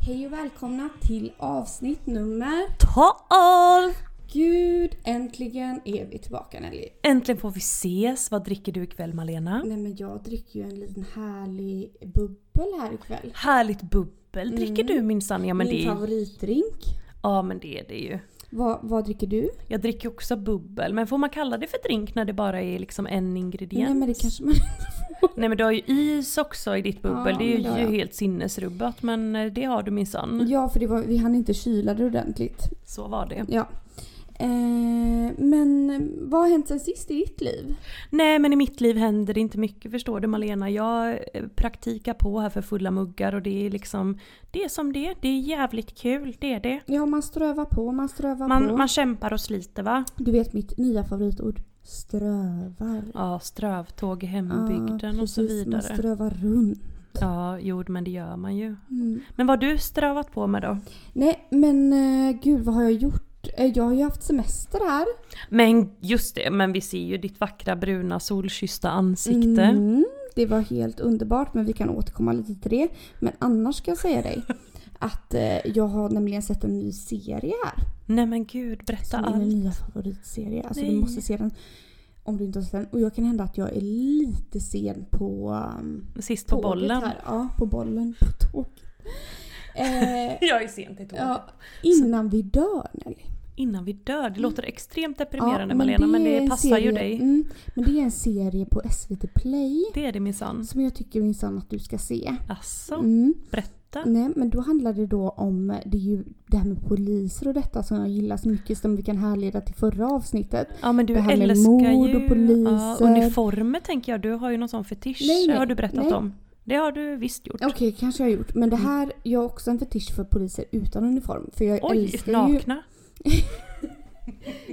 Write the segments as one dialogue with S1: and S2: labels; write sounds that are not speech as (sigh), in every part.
S1: Hej och välkomna till avsnitt nummer...
S2: 12!
S1: Gud, äntligen är vi tillbaka Nelly!
S2: Äntligen får vi ses. Vad dricker du ikväll Malena?
S1: Nej men jag dricker ju en liten härlig bubbel här ikväll.
S2: Härligt bubbel dricker du minsann. Ja men,
S1: Mm. Min
S2: det är,
S1: favoritdrink.
S2: ja men det är det ju.
S1: Vad, vad dricker du?
S2: Jag dricker också bubbel. Men får man kalla det för drink när det bara är liksom en ingrediens?
S1: Nej men det kanske man...
S2: Nej, men du har ju is också i ditt bubbel.
S1: Ja,
S2: det är
S1: men det har
S2: ju
S1: jag.
S2: helt sinnesrubbat men eh, det har du minsann.
S1: ja för det var, vi hann inte kyla det ordentligt.
S2: Så var det.
S1: Ja. Eh, men eh, vad har hänt sen sist i ditt liv?
S2: Nej men i mitt liv händer det inte mycket förstår du Malena. Jag eh, praktikar på här för fulla muggar och det är liksom det är som det är. Det är jävligt kul, det är det.
S1: Ja man strövar på, man strövar på.
S2: Man, man kämpar och sliter va?
S1: Du vet mitt nya favoritord? Strövar.
S2: Ja, strövtåg i hembygden Mm, och så
S1: precis, Man
S2: vidare.
S1: strövar runt.
S2: Ja, jo men det gör man ju.
S1: Mm.
S2: Men vad har du strövat på med då?
S1: Nej men eh, gud vad har jag gjort? Eh, jag har ju haft semester här.
S2: Men just det, men vi ser ju ditt vackra bruna solkyssta ansikte.
S1: Mm, det var helt underbart men vi kan återkomma lite till det. Men annars ska jag
S2: (laughs)
S1: säga dig att eh, jag har nämligen sett en ny serie här.
S2: Nej men gud, berätta
S1: Som är min
S2: allt.
S1: nya favoritserie. Alltså
S2: Nej.
S1: du måste se den om du inte har sett den. Och jag kan hända att jag är lite sen på um,
S2: Sist på
S1: tåget
S2: bollen.
S1: Här. Ja, på bollen. På tåget.
S2: (laughs)
S1: Eh,
S2: (laughs) Jag är sent i tåget.
S1: ja, innan vi dör Nelly.
S2: Innan vi dör. Det låter extremt
S1: Ja,
S2: deprimerande Malena men
S1: är
S2: det
S1: en
S2: passar ju
S1: serie-
S2: dig.
S1: Mm, men det är en serie på SVT Play
S2: Det Alltså. är det minsann.
S1: som jag tycker minsann att du ska se.
S2: Asså,
S1: Mm.
S2: berätta.
S1: Nej men då handlar det då om det, är ju det här med poliser och detta som jag gillar så mycket som vi kan härleda till förra avsnitt.
S2: Ja men du
S1: Det här med
S2: älskar
S1: mord
S2: ju
S1: och poliser.
S2: Ja, uniformer tänker jag, du har ju någon sån fetisch.
S1: Nej, nej,
S2: har du berättat
S1: nej.
S2: om. Det har du visst gjort. Mm.
S1: Okej, kanske jag har gjort. Men det här, jag har också en fetisch för poliser utan uniform. För jag
S2: Oj,
S1: älskar ju...
S2: nakna.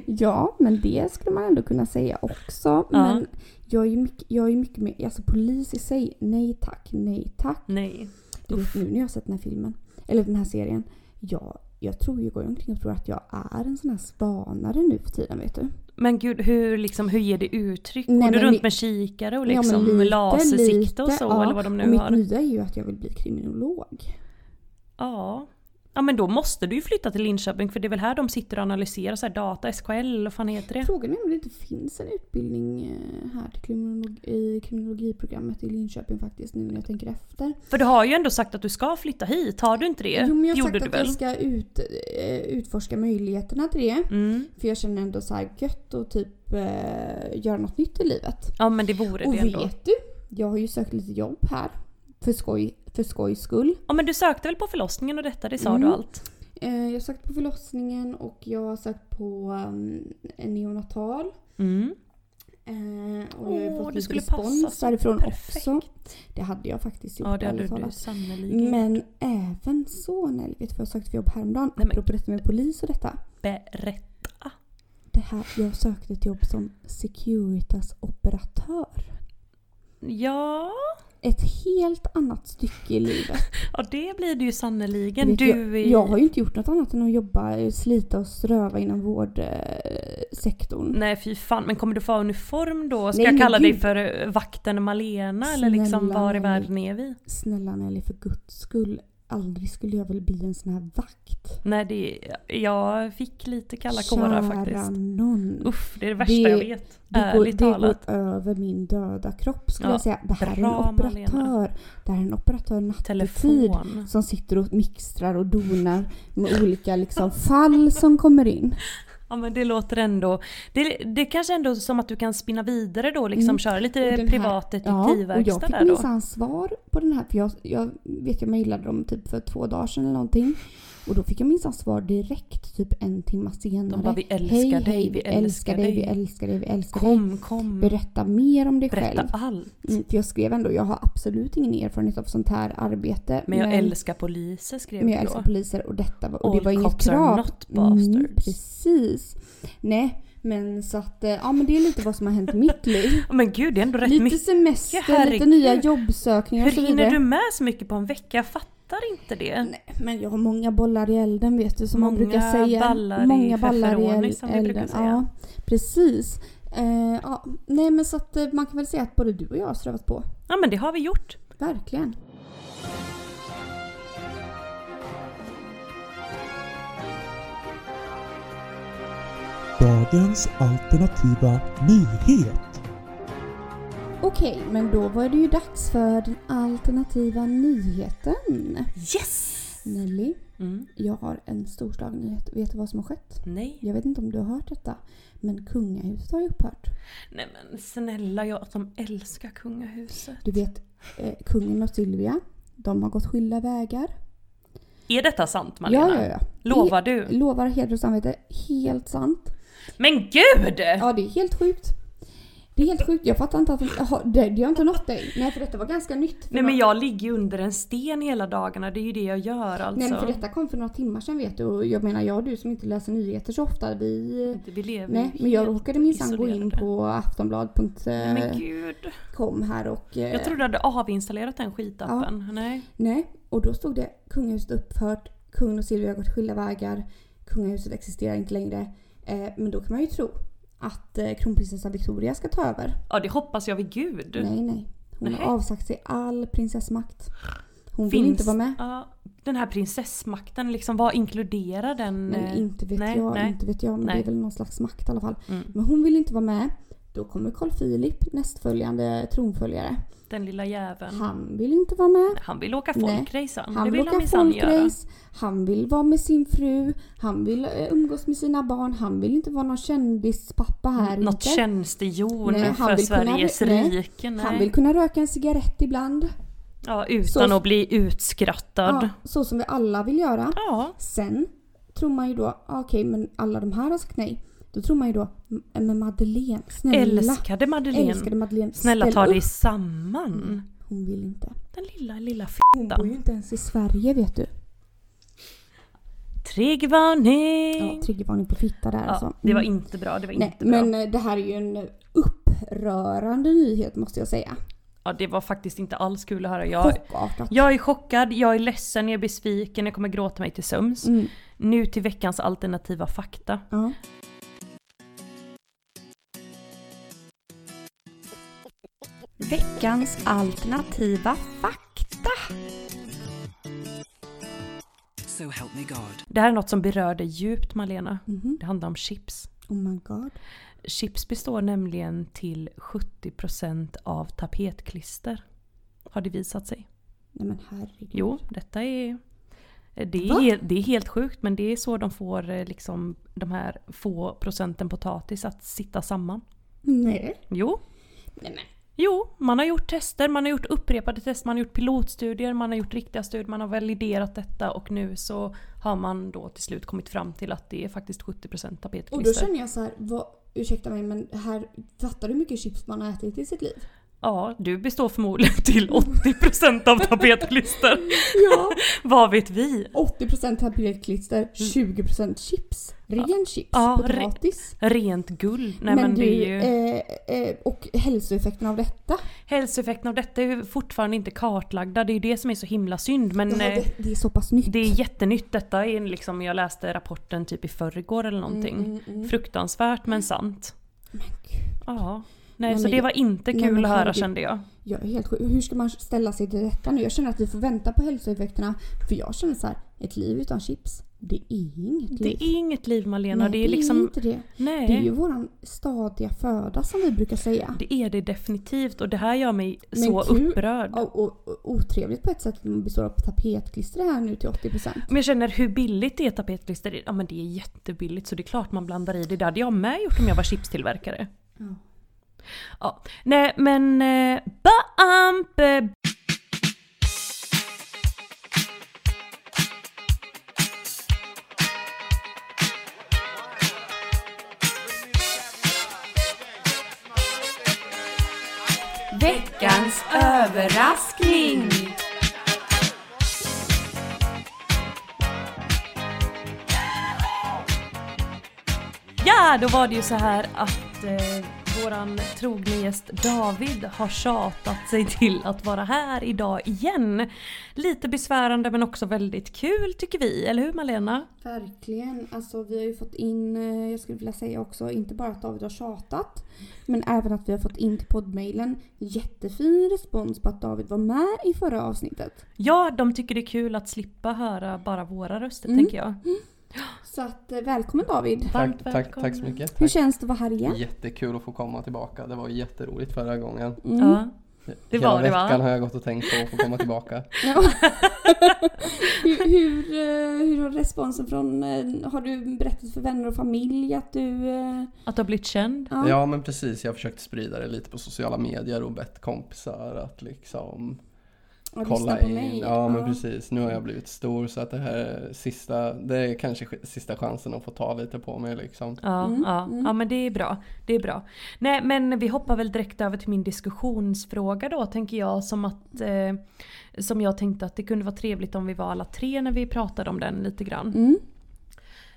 S1: Ja, men det skulle man ändå kunna säga också.
S2: Ja.
S1: Men jag är ju mycket, jag är ju mycket mer... Alltså polis i sig, nej tack, nej tack.
S2: Nej.
S1: Du vet nu när jag har sett den här filmen, eller den här serien. Jag, jag tror ju, går jag omkring och tror att jag är en sån här spanare nu för tiden vet du.
S2: Men gud, hur, liksom, hur ger det uttryck?
S1: Nej,
S2: Går du
S1: men
S2: runt
S1: li-
S2: med kikare och
S1: Ja, men
S2: liksom
S1: lite,
S2: lasersikte och
S1: lite,
S2: så?
S1: ja.
S2: Eller vad de
S1: och
S2: nu
S1: mitt
S2: har?
S1: nya är ju att jag vill bli kriminolog.
S2: Ja. Ja men då måste du ju flytta till Linköping för det är väl här de sitter och analyserar så här data, SKL, vad fan heter det?
S1: Frågan är om det inte finns en utbildning eh, här till kriminolog- i kriminologiprogrammet i Linköping faktiskt nu när jag tänker efter.
S2: För du har ju ändå sagt att du ska flytta hit, har du inte det?
S1: Jo men jag har
S2: Gjorde
S1: sagt
S2: du
S1: att
S2: väl?
S1: jag ska ut, eh, utforska möjligheterna till det.
S2: Mm.
S1: För jag känner ändå så här gött och typ eh, göra något nytt i livet.
S2: Ja men det vore
S1: Och
S2: det ändå.
S1: vet du? Jag har ju sökt lite jobb här. För, skoj, för skojs skull.
S2: Ja men du sökte väl på förlossningen och detta, det sa
S1: Mm.
S2: du allt?
S1: Eh, jag har sökt på förlossningen och jag har sökt på um, en neonatal.
S2: Mm.
S1: Eh, och jag har ju
S2: Åh,
S1: fått
S2: det
S1: lite
S2: skulle
S1: respons
S2: passa så
S1: därifrån
S2: perfekt.
S1: också. Det hade jag faktiskt gjort.
S2: Ja det hade
S1: ärligt
S2: du
S1: talat.
S2: sannerligen.
S1: Men även så Nelly, vet du vad jag sökte för jobb häromdagen?
S2: Nej, men-
S1: Apropå detta med polis och detta.
S2: Berätta.
S1: Det här, jag sökte ett jobb som Securitas-operatör.
S2: Ja.
S1: Ett helt annat stycke i livet.
S2: ja, det blir det ju sannerligen.
S1: Vet
S2: Du
S1: jag,
S2: är...
S1: jag har ju inte gjort något annat än att jobba, slita och ströva inom vårdsektorn.
S2: Nej fy fan, men kommer du få ha uniform då? Ska
S1: Nej,
S2: jag
S1: men
S2: kalla dig
S1: gud.
S2: för eh, vakten Malena eller
S1: Snälla
S2: liksom var i
S1: mig.
S2: världen är vi?
S1: Snälla Nelly, för guds skull. Aldrig skulle jag väl bli en sån här vakt.
S2: Nej det, jag fick lite kalla kårar
S1: Kära
S2: faktiskt.
S1: någon.
S2: Uff, det är det värsta
S1: Det-
S2: jag vet.
S1: Det går,
S2: Ärligt
S1: det går
S2: talat.
S1: över min döda kropp skulle
S2: Ja,
S1: jag säga. Det här är
S2: bra,
S1: en operatör. Det här är en operatör nattetid.
S2: Telefon.
S1: Som sitter och mixtrar och donar med olika liksom, fall som kommer in.
S2: Ja men det låter ändå... Det, det kanske ändå är som att du kan spinna vidare då liksom.
S1: Mm.
S2: Köra
S1: Och
S2: lite
S1: den här-
S2: privat
S1: och jag
S2: detektivverkstad
S1: fick
S2: där då.
S1: minsann svar på den här. För jag, jag vet jag mejlade dem typ för två dagar sedan eller någonting. Och då fick jag minsann svar direkt typ en timme senare.
S2: De bara vi älskar dig, vi älskar dig.
S1: vi älskar dig, vi älskar dig.
S2: Kom, kom.
S1: Berätta mer om dig
S2: Berätta
S1: själv.
S2: allt.
S1: Mm, för jag skrev ändå, jag har absolut ingen erfarenhet av sånt här arbete.
S2: Men jag älskar poliser skrev
S1: men jag
S2: du då.
S1: älskar poliser och detta var, och det
S2: All
S1: var inget
S2: cops are
S1: krav.
S2: not bastards.
S1: Mm, precis. Nej, men så att, eh, ja men det är lite vad som har hänt i mitt liv.
S2: Ja, Men gud det är ändå rätt
S1: lite
S2: mycket.
S1: semester, lite
S2: herregud.
S1: nya jobbsökningar
S2: Hur
S1: och så
S2: hinner
S1: vidare.
S2: du med så mycket på en vecka? Jag fattar inte det.
S1: Nej, men jag har många bollar i elden vet du som man
S2: Många
S1: brukar säga.
S2: ballar i chefferoni, som vi brukar säga.
S1: Ja, precis. Eh, ja, nej men så att eh, man kan väl säga att både du och jag har strövat på.
S2: Ja men det har vi gjort.
S1: Verkligen.
S3: Dagens alternativa nyhet.
S1: Okej, men då var det ju dags för den alternativa nyheten.
S2: Yes!
S1: Nelly,
S2: Mm.
S1: jag har en storslagen nyhet. Vet du vad som har skett?
S2: Nej.
S1: Jag vet inte om du har hört detta, men kungahuset har ju upphört.
S2: Nej men snälla jag som älskar kungahuset.
S1: Du vet, eh, kungen och Silvia, de har gått skilda vägar.
S2: Är detta sant Malena?
S1: Ja, ja, ja.
S2: Lovar
S1: Det-
S2: du?
S1: Lovar heder och samvete. Helt sant.
S2: Men gud!
S1: Ja, det är helt sjukt. Det är helt sjukt. Jag fattar inte att... Jaha, det, det har inte nått dig. Nej, för detta var ganska nytt. för
S2: Nej
S1: några-
S2: men jag ligger ju under en sten hela dagarna, det är ju det jag gör alltså.
S1: Nej, men för detta kom för några timmar sedan vet du. Och jag menar, jag och du som inte läser nyheter så ofta, vi...
S2: Vi lever
S1: Nej,
S2: ju
S1: men jag
S2: helt
S1: råkade minsann gå in
S2: isolerade.
S1: på eh,
S2: Nej, Men
S1: aftonbladet.com
S2: gud.
S1: här och... eh,
S2: Jag trodde du hade avinstallerat den skitappen. Nej.
S1: Nej, och då stod det kungahuset upphört, kungen och Silvia har gått skilda vägar, kungahuset existerar inte längre. Eh, men då kan man ju tro att eh, kronprinsessan Victoria ska ta över.
S2: Ja det hoppas jag vid gud.
S1: Nej, nej. Hon
S2: Nej.
S1: har avsagt sig all prinsessmakt. Hon
S2: Finns-
S1: vill inte vara med.
S2: Ja, den här prinsessmakten, liksom, vad inkluderar den?
S1: Men
S2: eh,
S1: inte vet
S2: nej,
S1: jag,
S2: nej.
S1: inte vet jag. Men det
S2: Nej.
S1: är väl någon slags makt i alla fall.
S2: Mm.
S1: Men hon vill inte vara med. Då kommer Carl Philip, nästföljande tronföljare.
S2: Den lilla jäveln.
S1: Han vill inte vara med.
S2: Han vill åka
S1: Nej.
S2: folkrace han. Det
S1: Han vill
S2: vill han
S1: åka
S2: minsann göra.
S1: folkrace, han vill vara med sin fru, han vill eh, umgås med sina barn, han vill inte vara någon kändispappa här
S2: Något
S1: inte.
S2: tjänstehjon
S1: Nej, han
S2: för
S1: vill kunna-
S2: Sveriges
S1: nej.
S2: rike. Nej.
S1: Han vill kunna röka en cigarett ibland.
S2: ja, utan
S1: Så-
S2: att bli utskrattad.
S1: Ja,
S2: Ja.
S1: så som vi alla vill göra. Sen tror man ju då, ah, okej men alla de här har sagt nej. Då tror man ju då, "M- men Madeleine, snälla.
S2: Älskade Madeleine.
S1: Älskade Madeleine.
S2: Snälla
S1: ställ
S2: ta dig
S1: upp." Mm.
S2: samman.
S1: Hon vill inte.
S2: Den lilla, lilla
S1: Hon
S2: fittan.
S1: bor ju inte ens i Sverige vet du. Ja,
S2: Triggervarning!
S1: triggervarning på fitta där alltså.
S2: Ja, det var
S1: Mm.
S2: inte bra, det var
S1: Nej,
S2: inte bra.
S1: men eh, det här är ju en upprörande nyhet måste jag säga.
S2: Ja, det var faktiskt inte alls kul att höra. Jag,
S1: Chockartat.
S2: jag är chockad, jag är ledsen, jag är besviken, jag kommer gråta mig till sömns.
S1: Mm.
S2: Nu till veckans alternativa fakta.
S1: Ja.
S4: Veckans alternativa fakta.
S5: So help me God.
S2: Det här är något som berör dig djupt Malena.
S1: Mhm.
S2: Det handlar om chips.
S1: Oh my god.
S2: Chips består nämligen till 70% av tapetklister. Har det visat sig.
S1: Nej men herregud.
S2: Jo, detta är... Det
S1: Va?
S2: är, helt, det är helt sjukt men det är så de får eh, liksom de här få procenten potatis att sitta samman.
S1: Nej.
S2: Jo.
S1: Nej, men.
S2: Jo, man har gjort tester, man har gjort upprepade tester, man har gjort pilotstudier, man har gjort riktiga studier, man har validerat detta och nu så har man då till slut kommit fram till att det är faktiskt 70%
S1: Och då
S2: tapetklister.
S1: känner jag så här, vad, ursäkta mig men här, fattar du hur mycket chips man har ätit i sitt liv?
S2: Ja, du består förmodligen till 80% av tapetklister.
S1: (laughs) Ja.
S2: Vad vet vi?
S1: 80% tapetklister, 20% chips. Ren chips,
S2: Mm. Ja,
S1: potatis.
S2: Rent guld. Nej men, det är ju...
S1: eh, eh, och hälsoeffekten av detta.
S2: Hälsoeffekten av detta är ju fortfarande inte kartlagda. Det är ju det som är så himla synd. Men
S1: det, här,
S2: eh,
S1: det, det är så pass nytt.
S2: det är jättenytt. Detta är liksom, jag läste rapporten typ i förrgår eller
S1: Mm,
S2: någonting. Fruktansvärt men sant.
S1: Men gud,
S2: Ja. Nej, så
S1: Nej, Mm. men
S2: det
S1: jag-
S2: var inte
S1: Nej,
S2: kul
S1: men
S2: att höra
S1: herregud.
S2: kände jag.
S1: jag är helt sjuk. Hur ska man ställa sig till detta nu? Jag känner att vi får vänta på hälsoeffekterna. För jag känner så här, ett liv utan chips, det är inget liv.
S2: Det är inget liv Malena.
S1: Nej,
S2: det är liksom...
S1: inte det.
S2: Nej.
S1: Det är ju våran stadiga föda som vi brukar säga.
S2: Det är det definitivt och det här gör mig
S1: Men
S2: så
S1: kul-
S2: upprörd.
S1: Och, och, och otrevligt på ett sätt att man består av tapetklister här nu till 80%.
S2: Men jag känner hur billigt det är tapetklister. Ja men det är jättebilligt så det är klart man blandar i det. Det hade jag med gjort om jag var chipstillverkare.
S1: Ja.
S2: Ja. Nej men... Eh, bump, eh,
S4: Veckans överraskning!
S2: Ja, då var det ju så här att eh, våran trogne gäst David har tjatat sig till att vara här idag igen. Lite besvärande men också väldigt kul tycker vi, eller hur Malena?
S1: Verkligen. Alltså vi har ju fått in, eh, jag skulle vilja säga också, inte bara att David har tjatat. Men även att vi har fått in till poddmailen jättefin respons på att David var med i förra avsnittet.
S2: Ja, de tycker det är kul att slippa höra bara våra röster
S1: Mm.
S2: tänker jag.
S1: Så att eh, välkommen David.
S2: Varmt
S6: Tack, tack,
S2: välkommen.
S6: tack så mycket.
S1: Hur
S6: Tack.
S1: känns det att vara här igen?
S6: Jättekul att få komma tillbaka. Det var jätteroligt förra gången.
S1: Mm.
S2: Ja. Det
S6: Hela
S2: var det, va?
S6: veckan har jag gått och tänkt på att få komma tillbaka.
S1: Ja. hur, hur, eh, hur har responsen från, eh, har du berättat för vänner och familj att du... eh,
S2: Att du har blivit känd.
S1: (laughs) Ja.
S6: Ja men precis, jag har försökt sprida det lite på sociala medier och bett kompisar att liksom
S1: har
S6: kolla
S1: lyssnat på
S6: in.
S1: mig?
S6: Ja men precis, nu har jag blivit stor så att det här är sista, det är kanske sk- sista chansen att få ta lite på mig liksom.
S2: Ja,
S1: Mm,
S2: ja,
S1: mm.
S2: ja men det är bra. Det är bra. Nej men vi hoppar väl direkt över till min diskussionsfråga då tänker jag som att eh, Som jag tänkte att det kunde vara trevligt om vi var alla tre när vi pratade om den lite grann.
S1: Mm.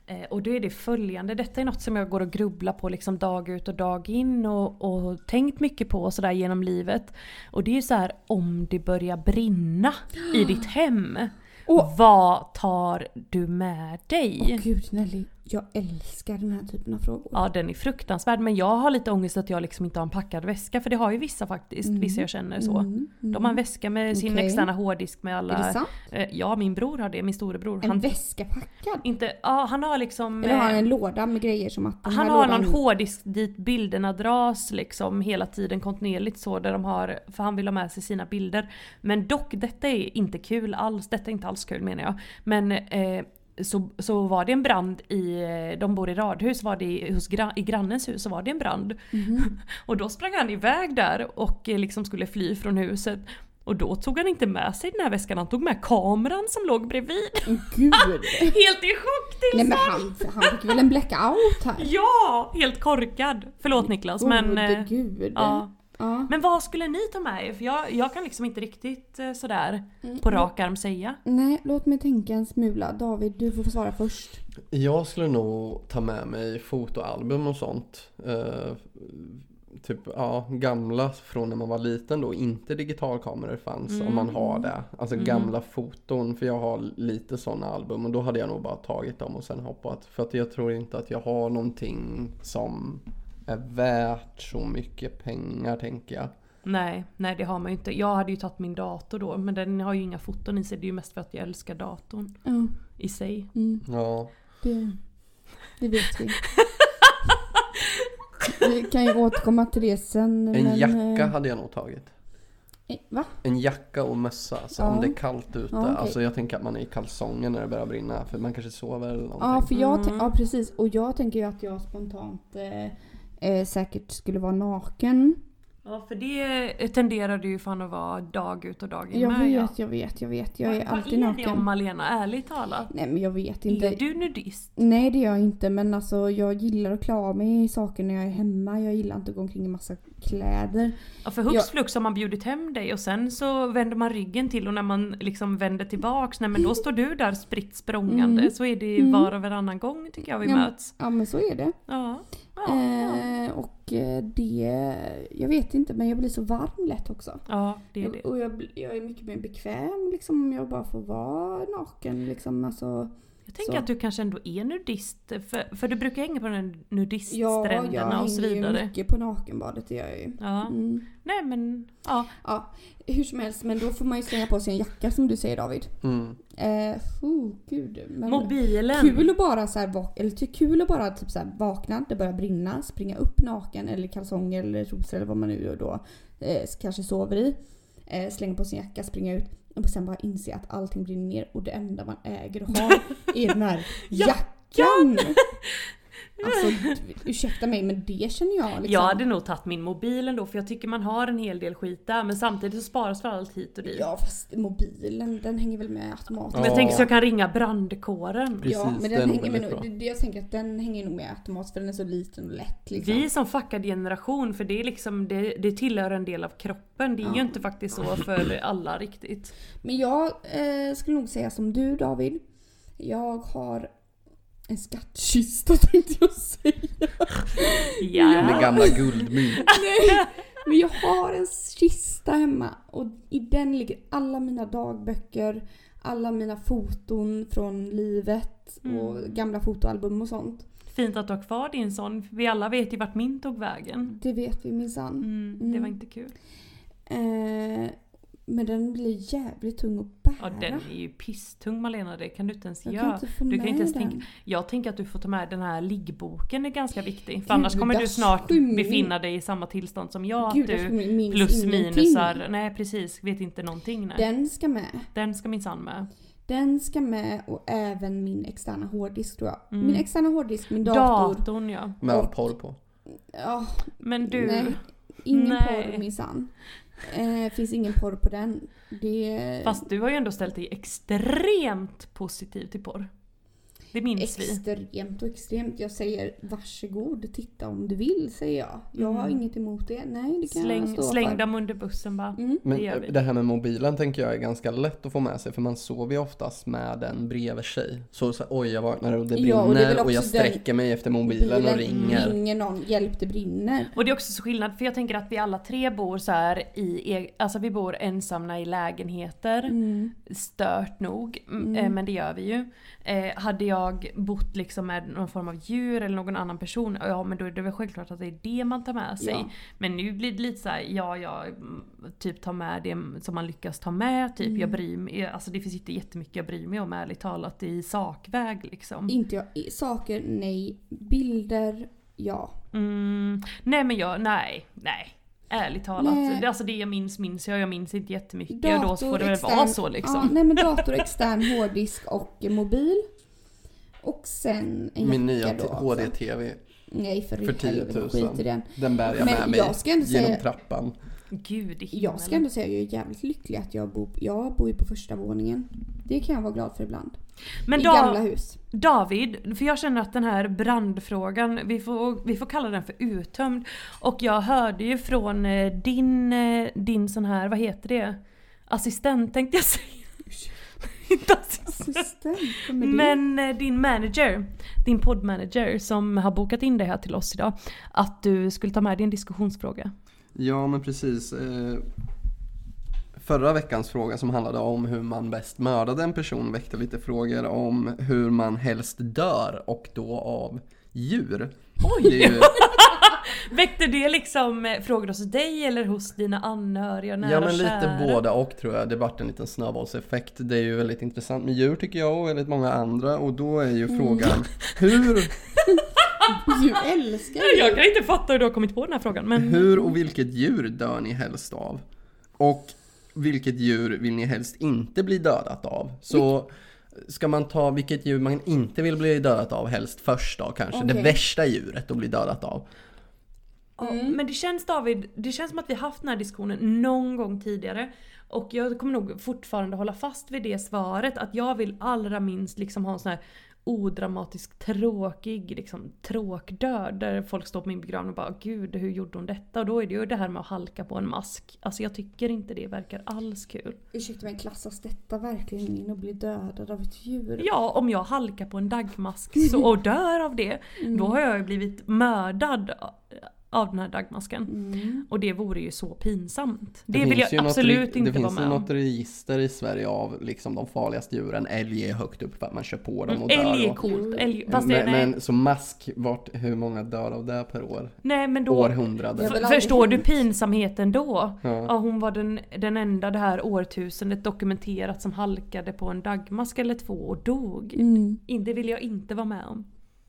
S2: Eh, och då är det följande, detta är något som jag går och grubblar på liksom dag ut och dag in och, och tänkt mycket på och sådär genom livet. Och det är ju så här om det börjar brinna
S1: (gasps)
S2: i ditt hem.
S1: Åh.
S2: Vad tar du med dig?
S1: Åh gud Nelly, jag älskar den här typen av frågor.
S2: Ja den är fruktansvärd men jag har lite ångest att jag liksom inte har en packad väska för det har ju vissa faktiskt,
S1: Mm.
S2: vissa jag känner så.
S1: Mm, mm.
S2: De har en väska med sin
S1: Okej.
S2: externa hårddisk med alla...
S1: Är det sant?
S2: Eh, Ja min bror har det, min storebror.
S1: En
S2: Han,
S1: väska packad?
S2: inte, ja, han har liksom...
S1: Eller har han
S2: eh,
S1: en låda med grejer som att den
S2: han
S1: här
S2: har
S1: lådan...
S2: någon
S1: (laughs)
S2: hårddisk dit bilderna dras liksom hela tiden kontinuerligt så där de har, för han vill ha med sig sina bilder. Men dock, detta är inte kul alls, detta är inte alls kul menar jag. Men eh, så, så var det en brand i, eh, de bor i radhus, var det i, hos, gra- i grannens hus så var det en brand.
S1: Mhm.
S2: (laughs) och då sprang han iväg där och eh, liksom skulle fly från huset. Och då tog han inte med sig den här väskan, han tog med kameran som låg bredvid. (laughs)
S1: Gud!
S2: Helt i chock
S1: Nej
S2: till
S1: men han, han fick väl en blackout här?
S2: Ja! Helt korkad. Förlåt Niklas men...
S1: Gode
S2: eh,
S1: gud.
S2: Ja.
S1: Ja.
S2: Men vad skulle ni ta med er? För jag, jag kan liksom inte riktigt eh, sådär på
S1: Mm.
S2: rak arm säga.
S1: Nej, låt mig tänka en smula. David, du får svara först.
S6: Jag skulle nog ta med mig fotoalbum och sånt. Eh, typ ja, gamla från när man var liten då. Inte digitalkameror fanns om man har
S1: Mm.
S6: det. Alltså gamla foton. För jag har lite sådana album och då hade jag nog bara tagit dem och sen hoppat. För att jag tror inte att jag har någonting som är värt så mycket pengar tänker jag.
S2: Nej, nej det har man ju inte. Jag hade ju tagit min dator då men den har ju inga foton i sig. Det är ju mest för att jag älskar datorn
S1: Ja,
S2: i sig.
S1: mm,
S6: Ja,
S1: det, det vet vi. (laughs) Vi kan ju återkomma till det sen.
S6: en
S1: men,
S6: jacka
S1: eh,
S6: hade jag nog tagit.
S1: eh, Va?
S6: En jacka och mössa, alltså om
S1: Ja.
S6: det är kallt ute.
S1: Ja, okej.
S6: Alltså jag tänker att man är i kalsonger när det börjar brinna för man kanske sover eller någonting.
S1: Ja, för jag tän-
S2: Mm.
S1: ja, precis. Och jag tänker ju att jag spontant eh, eh, säkert skulle vara naken.
S2: Ja för det Eh, tenderar du ju fan att vara dag ut och dag in
S1: Jag
S2: med.
S1: vet, jag vet, jag vet. Jag är
S2: Vad-
S1: alltid
S2: Vad är det om
S1: naken.
S2: Malena, ärligt talat?
S1: Nej men jag vet inte.
S2: Är du nudist?
S1: Nej det gör jag inte men alltså jag gillar att klä av mig i saker när jag är hemma. Jag gillar inte att gå omkring i massa kläder.
S2: Ja, för hux flux har man bjudit hem dig och sen så vänder man ryggen till och när man liksom vänder tillbaks, nej men då står du där spritt språngande.
S1: Mm.
S2: Så är det
S1: Mm.
S2: var och varannan gång tycker jag vi
S1: Ja, men-
S2: möts.
S1: Ja men så är det.
S2: Ja. Ja, ja.
S1: eh, och eh, det, jag vet inte men jag blir så varm lätt också.
S2: ja, det är det.
S1: Och jag, bli- jag är mycket mer bekväm liksom om jag bara får vara naken liksom. Alltså,
S2: Jag tänker
S1: så.
S2: att du kanske ändå är nudist. För, för du brukar hänga på den här
S1: ja, jag
S2: nudiststränderna och så
S1: hänger ju
S2: vidare.
S1: mycket på nakenbadet det gör jag ju.
S2: Ja.
S1: Mm.
S2: Nej men, ja.
S1: Ja, hur som helst men då får man ju slänga på sig en jacka som du säger David.
S6: Mm.
S1: Eh, oh, gud. Men...
S2: Mobilen.
S1: Kul att liksom. bara så här, vak- eller ty- kul att bara typ så här vakna, det börjar brinna, springa upp naken eller kalsonger eller trosor eller vad man nu gör då eh, kanske sover i. Eh, slänga på sin jacka, springa ut och sen bara inse att allting brinner ner och det enda man äger och har är den här jackan! Alltså ursäkta mig men det känner jag liksom.
S2: Jag hade nog tagit min mobil ändå för jag tycker man har en hel del skit där men samtidigt så sparas för allt hit och dit.
S1: Ja fast mobilen den hänger väl med automatiskt.
S2: Men jag
S6: Ja.
S2: tänker så jag kan ringa brandkåren.
S6: Precis,
S1: ja, men
S6: den
S1: den
S6: är
S1: hänger, men
S6: väldigt bra.
S1: det- det, jag tänker att den hänger nog med automatiskt för den är så liten och lätt liksom.
S2: Vi är som fuckad generation för det är liksom det, det tillhör en del av kroppen. Det är ju inte faktiskt så för alla riktigt.
S1: Men jag eh, skulle nog säga som du David. Jag har en skattkista (laughs) tänkte jag säga.
S2: Ja.
S6: Med gamla guldmynt.
S1: (laughs) Nej! Men jag har en kista hemma och i den ligger alla mina dagböcker, alla mina foton från livet och
S2: Mm.
S1: gamla fotoalbum och sånt.
S2: Fint att du har kvar din sån. för Vi alla vet ju vart min tog vägen.
S1: Det vet vi minsann.
S2: Mm, Det var inte kul.
S1: Eh, men den blir jävligt tung att bära.
S2: Ja den är ju pisstung Malena, det kan du inte ens
S1: jag
S2: göra.
S1: kan inte få
S2: Du
S1: med
S2: kan inte ens
S1: den.
S2: tänka, jag tänker att du får ta med den här liggboken, är ganska viktig. För annars
S1: Gud,
S2: kommer du
S1: där
S2: snart
S1: står min-
S2: befinna dig i samma tillstånd som jag.
S1: Gud,
S2: att
S1: jag
S2: du
S1: minns
S2: plus
S1: ingenting.
S2: minusar, nej precis, vet inte någonting. Nej. Den...
S1: Den ska med.
S2: ska minsann med.
S1: Den ska med och även min externa hårddisk tror jag.
S2: Mm.
S1: Min externa hårddisk, min dator.
S2: Datorn ja.
S6: Med all porr på.
S1: Ja,
S2: Men du,
S1: Nej, ingen
S2: Nej.
S1: porr minsann. Eh, finns ingen porr på den. Det
S2: fast du har ju ändå ställt dig extremt positiv till porr. Det minns vi.
S1: Extremt och extremt. Jag säger varsågod, titta om du vill säger jag. Jag har inget emot det. Nej, det kan jag
S2: Mm. Släng,
S1: stå
S2: släng
S1: för. Mm.
S2: dem under bussen bara.
S6: Men
S2: Det gör vi.
S6: det, här med mobilen tänker jag är ganska lätt att få med sig för man sover ju oftast med den bredvid sig. Så, så oj jag vaknar och det brinner
S1: Ja, och
S6: och,
S1: det är väl
S6: jag
S1: också den-
S6: sträcker mig efter mobilen och ringer.
S1: Mm. ringer någon, hjälp det brinner.
S2: Och det är också så skillnad för jag tänker att vi alla tre bor så här i, e- alltså vi bor ensamma i lägenheter.
S1: Mm.
S6: Mm.
S2: Stört nog, m- eh, men det gör vi ju. Eh, hade jag bott liksom med någon form av djur eller någon annan person, ja men då är det väl självklart att det är det man tar med sig.
S1: Ja.
S2: Men nu blir det lite så här, ja jag mm, typ tar med det som man lyckas ta med. Typ
S1: Mm.
S2: jag bryr mig, alltså det finns inte jättemycket jag bryr mig om ärligt talat i sakväg liksom.
S1: Inte jag. i- Saker, nej. Bilder, ja.
S2: Mm, nej men jag, nej, nej. Ärligt talat.
S1: Nej.
S2: Det, alltså det jag minns minns jag, jag minns inte jättemycket och då
S1: Dator,
S2: får det väl
S1: extern-
S2: vara så liksom.
S1: Ja, nej men
S6: (laughs)
S1: dator, extern hårddisk och mobil. Och sen en
S6: Min nya
S1: jacka
S6: t-
S1: då alltså. också.
S6: HD-TV.
S1: Nej för,
S6: För 10
S1: helvete,
S6: 000.
S1: skit i den.
S6: Den bär jag
S1: Men
S6: med mig
S1: jag ska ändå
S6: genom
S1: säga-
S6: trappan.
S2: Gud i himlen.
S1: Jag ska ändå säga att jag är jävligt lycklig att jag bor, jag bor ju på första våningen. Det kan jag vara glad för ibland.
S2: men
S1: I
S2: da,
S1: gamla
S6: (laughs)
S1: hus.
S2: David, för jag känner att den här brandfrågan, vi får, vi får kalla den för uttömd. Och jag hörde ju från eh, din, eh, din sån här, vad heter det? Assistent tänkte jag säga. inte assistent.
S1: Assistent, vem är det?
S2: Men eh, din manager, din poddmanager som har bokat in det här till oss idag, att du skulle ta med din diskussionsfråga.
S6: Ja men precis. eh, Förra veckans fråga som handlade om hur man bäst mördade en person väckte lite frågor om hur man helst dör och då av djur. Oj! Det är ju,
S2: Väckte det liksom eh, frågor hos dig eller hos dina anhöriga och (laughs) nära
S6: ja
S2: och
S6: men lite
S2: kära?
S6: båda och tror jag. Det vart en liten snöbollseffekt. Det är ju väldigt intressant med djur tycker jag och väldigt många andra och då är
S2: Mm.
S6: ju
S2: (laughs)
S6: frågan hur,
S1: Du älskar
S2: Nej,
S1: det.
S2: Jag kan inte fatta hur du har kommit på den här frågan men
S6: hur och vilket djur dör ni helst av? Och vilket djur vill ni helst inte bli dödat av? Så ska man ta vilket djur man inte vill bli dödat av helst först då kanske? Det
S1: Okej.
S6: värsta djuret att bli dödat av.
S2: Ja, Men det känns David, det känns som att vi haft den här diskussionen någon gång tidigare. Och jag kommer nog fortfarande hålla fast vid det svaret att jag vill allra minst liksom ha en sån här odramatisk tråkig liksom, tråkdöd där folk står på min begravning och bara gud hur gjorde hon detta? Och då är det ju det här med att halka på en mask. Alltså jag tycker inte det verkar alls kul.
S1: Ursäkta mig, klassas detta verkligen in och bli dödad av ett djur?
S2: Ja om jag halkar på en dagmask så, och dör av det då har jag ju blivit mördad av den här dagmasken.
S1: Mm.
S2: Och det vore ju så pinsamt. Det, vill
S6: finns ju
S2: jag
S6: något
S2: absolut
S6: reg-
S2: inte
S6: Det
S2: vara
S6: finns ju
S2: med om.
S6: något register i Sverige av liksom de farligaste djuren. Älg är högt upp för att man kör på dem och dör.
S2: Mm, Älg är
S6: och- Mm,
S2: coolt. Älg, fast det,
S6: Men,
S2: nej,
S6: men så mask, vart, hur många dör av det per år?
S2: nej men då...
S6: Århundrade.
S1: Jag
S2: F-
S1: väl aldrig
S2: Förstår du
S1: hänt.
S2: pinsamheten då?
S6: Ja.
S2: Ja, hon var den, den enda det här årtusendet dokumenterat som halkade på en dagmask eller två och dog.
S1: Mm.
S2: In- Det vill jag inte vara med om.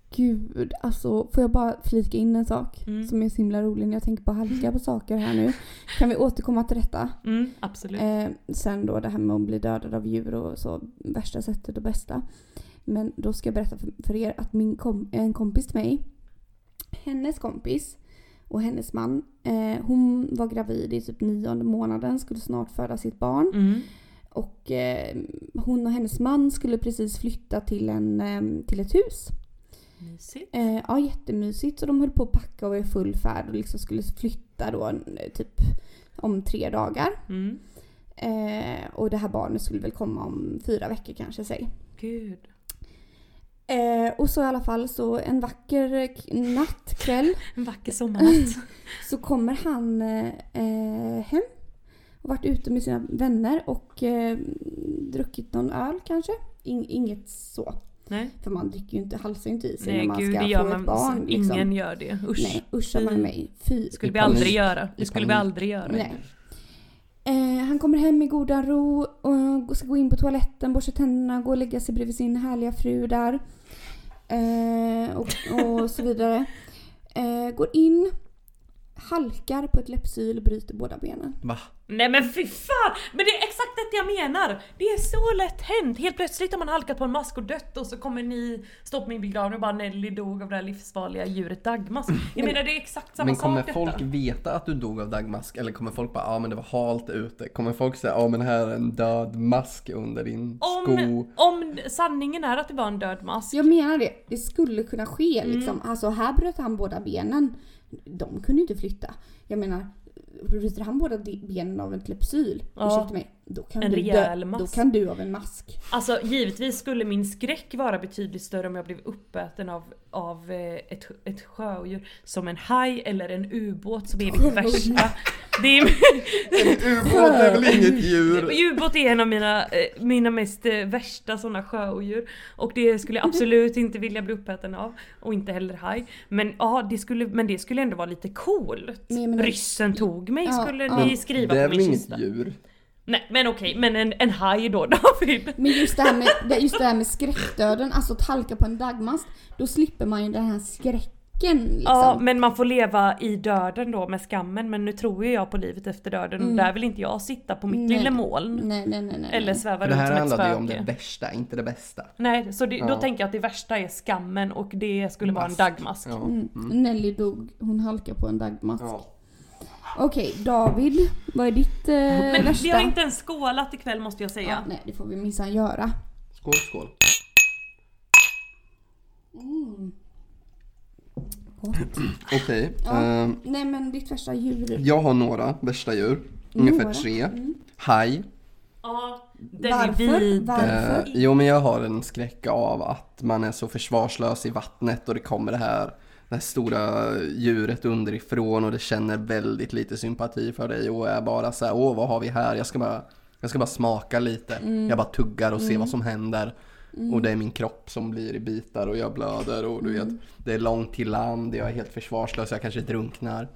S1: Gud, alltså får jag bara flika in en sak
S2: Mm.
S1: som är så himla rolig när jag tänker på halka på saker här nu. Kan vi återkomma till detta?
S2: Mm, absolut.
S1: Eh, sen då det här med att bli dödad av djur och så, värsta sättet och bästa. Men då ska jag berätta för, för er att min kom, en kompis till mig hennes kompis och hennes man, eh, hon var gravid i typ nionde månaden, skulle snart föda sitt barn.
S2: Mm.
S1: Och eh, hon och hennes man skulle precis flytta till, en, eh, till ett hus.
S2: Mysigt.
S1: Eh, ja, jättemysigt. Så de höll på att packa och var i full färd och liksom skulle flytta då eh, typ om tre dagar.
S2: Mm.
S1: Eh, och det här barnet skulle väl komma om fyra veckor kanske, säg.
S2: Gud.
S1: Eh, och så i alla fall så en vacker k- natt, kväll,
S2: En vacker sommarnatt.
S1: Eh. så kommer han eh, eh, hem. Och varit ute med sina vänner och eh, druckit någon öl kanske. In, inget så.
S2: Nej,
S1: För man dricker ju inte, halsar ju inte i sig
S2: Nej
S1: när man
S2: gud
S1: ska
S2: det gör
S1: få
S2: man.
S1: ett barn. Liksom.
S2: Ingen gör det. Usch.
S1: Nej, usch att man är med i. Fy.
S2: skulle vi
S6: I panik.
S2: aldrig göra. Det
S6: I
S2: skulle vi
S6: panik.
S2: aldrig göra.
S1: Nej. Eh, han kommer hem i godan ro och ska gå in på toaletten, borsta tänderna, gå och lägga sig bredvid sin härliga fru där. Eh, och, och så vidare. Eh, går in, halkar på ett läppsyl och bryter båda benen.
S6: Va?
S2: Nej men fy fan! Men det är exakt det jag menar! Det är så lätt hänt! Helt plötsligt har man halkat på en mask och dött och så kommer ni stå på min begravning och bara Nelly dog av det här livsfarliga djuret
S6: (clears throat)
S2: dagmask. Jag menar det är exakt samma
S6: Men
S2: sak
S6: kommer
S2: detta.
S6: folk veta att du dog av dagmask? Eller kommer folk bara, ja ah, men det var halt ute? Kommer folk säga, ja ah, men här är en död mask under din sko?
S2: om, om sanningen är att det var en död mask.
S1: Jag menar det, det skulle kunna ske
S2: Mm.
S1: liksom. Alltså här bröt han båda benen. De kunde ju inte flytta. Jag menar, bryter han båda de- benen av ett läppsyl,
S2: Ja.
S1: ursäkta mig, då kan,
S2: En
S1: du dö,
S2: rejäl
S1: då
S2: mask.
S1: kan du av en mask.
S2: Alltså givetvis skulle min skräck vara betydligt större om jag blev uppäten av, av eh, ett, ett sjödjur som en haj eller en ubåt som är mitt värsta. Det är,
S6: En ubåt är väl inget
S2: Och
S6: djur?
S2: Ubåt är en av mina, eh, mina mest eh, värsta sådana sjöodjur. Och det skulle jag absolut inte vilja bli uppäten av. Och inte heller haj. Men ja, det skulle, men det skulle ändå vara lite coolt.
S1: Nej, men-
S2: Ryssen tog mig
S1: Ja,
S2: skulle
S1: ja.
S2: ni skriva
S6: Det är
S2: på
S6: väl
S2: min
S6: inget
S2: kista.
S6: djur?
S2: Nej men okej, men en, en haj då (laughs) David.
S1: Men just det här med, det- just det här med skräckdöden, alltså att halka på en dagmask, då slipper man ju den här skräcken liksom.
S2: Ja men man får leva i döden då med skammen. Men nu tror ju jag på livet efter döden och där vill inte jag sitta på mitt
S1: Mm. Nej.
S2: lilla moln.
S1: Nej, nej, nej, nej.
S2: Eller sväva
S6: För det
S2: runt
S6: här
S2: som ett
S6: handlade ju om det
S2: spöke.
S6: värsta, inte det bästa.
S2: Nej, så det, då
S6: Ja.
S2: tänker jag att det värsta är skammen och det skulle vara en
S6: Mask.
S2: dagmask.
S6: Ja.
S1: Mm. Nelly dog, hon halkade på en dagmask.
S6: Ja.
S1: Okej, David, vad är ditt eh,
S2: Men
S1: värsta?
S2: vi har inte ens skålat ikväll måste jag säga.
S1: ja, nej, det får vi minsann göra.
S6: Skål, skål. Mm.
S1: Gott.
S6: Okej.
S1: Ja.
S6: ehm,
S1: Nej men ditt värsta djur.
S6: jag har några värsta djur. Ungefär
S1: Några?
S6: tre. Haj.
S2: Ja, den är
S1: Varför?
S2: vid.
S6: Eh,
S1: Varför?
S6: jo men jag har en skräck av att man är så försvarslös i vattnet och det kommer det här, det här stora djuret underifrån och det känner väldigt lite sympati för dig och är bara så här, åh vad har vi här? Jag ska bara, jag ska bara smaka lite. Jag bara tuggar och ser vad som händer. Och det är min kropp som blir i bitar och jag blöder och du vet, det är långt till land, jag är helt försvarslös, jag kanske drunknar.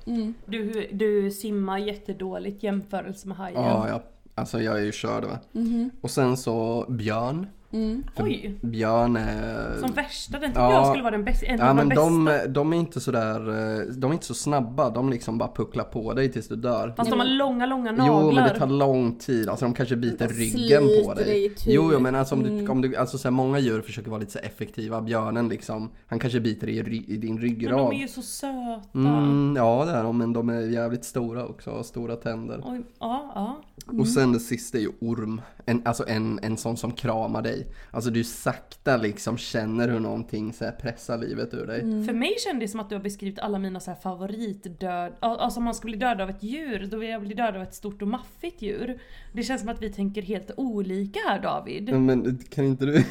S2: Du, du simmar jättedåligt jämförelse med hajen.
S6: Ja, ja. Alltså jag är ju körd va. Och sen så björn. För
S2: Oj.
S6: Björn är...
S2: Som värsta, den tycker
S6: Ja.
S2: jag skulle vara den bästa. En
S6: Ja
S2: av de
S6: men
S2: bästa.
S6: de, de är inte sådär, eh, de är inte så snabba, de liksom bara pucklar på dig tills du dör.
S2: Fast de har långa, långa naglar.
S6: Jo men det tar lång tid, alltså de kanske biter
S1: De
S6: ryggen på
S1: sliter dig
S6: dig.
S2: typ.
S1: itu.
S6: Jo, jo men alltså om
S2: Mm.
S6: du, om du alltså så här, många djur försöker vara lite så här effektiva, björnen liksom, han kanske biter dig i, ry- i din
S2: men de
S6: ryggrad.
S2: är ju så söta.
S6: Mm, ja det är de, men de är jävligt stora också, har stora tänder.
S2: Oj, ja, ja.
S6: Och sen det sista är ju orm. En, alltså en, en sån som kramar dig. Alltså du sakta liksom känner hur någonting så här pressar livet ur dig.
S1: Mm.
S2: För mig kändes det som att du har beskrivit alla mina så här favoritdöd... Alltså om man skulle bli död av ett djur, då vill jag bli död av ett stort och maffigt djur. Det känns som att vi tänker helt olika här David.
S6: Ja, Men kan
S2: (laughs)
S6: inte du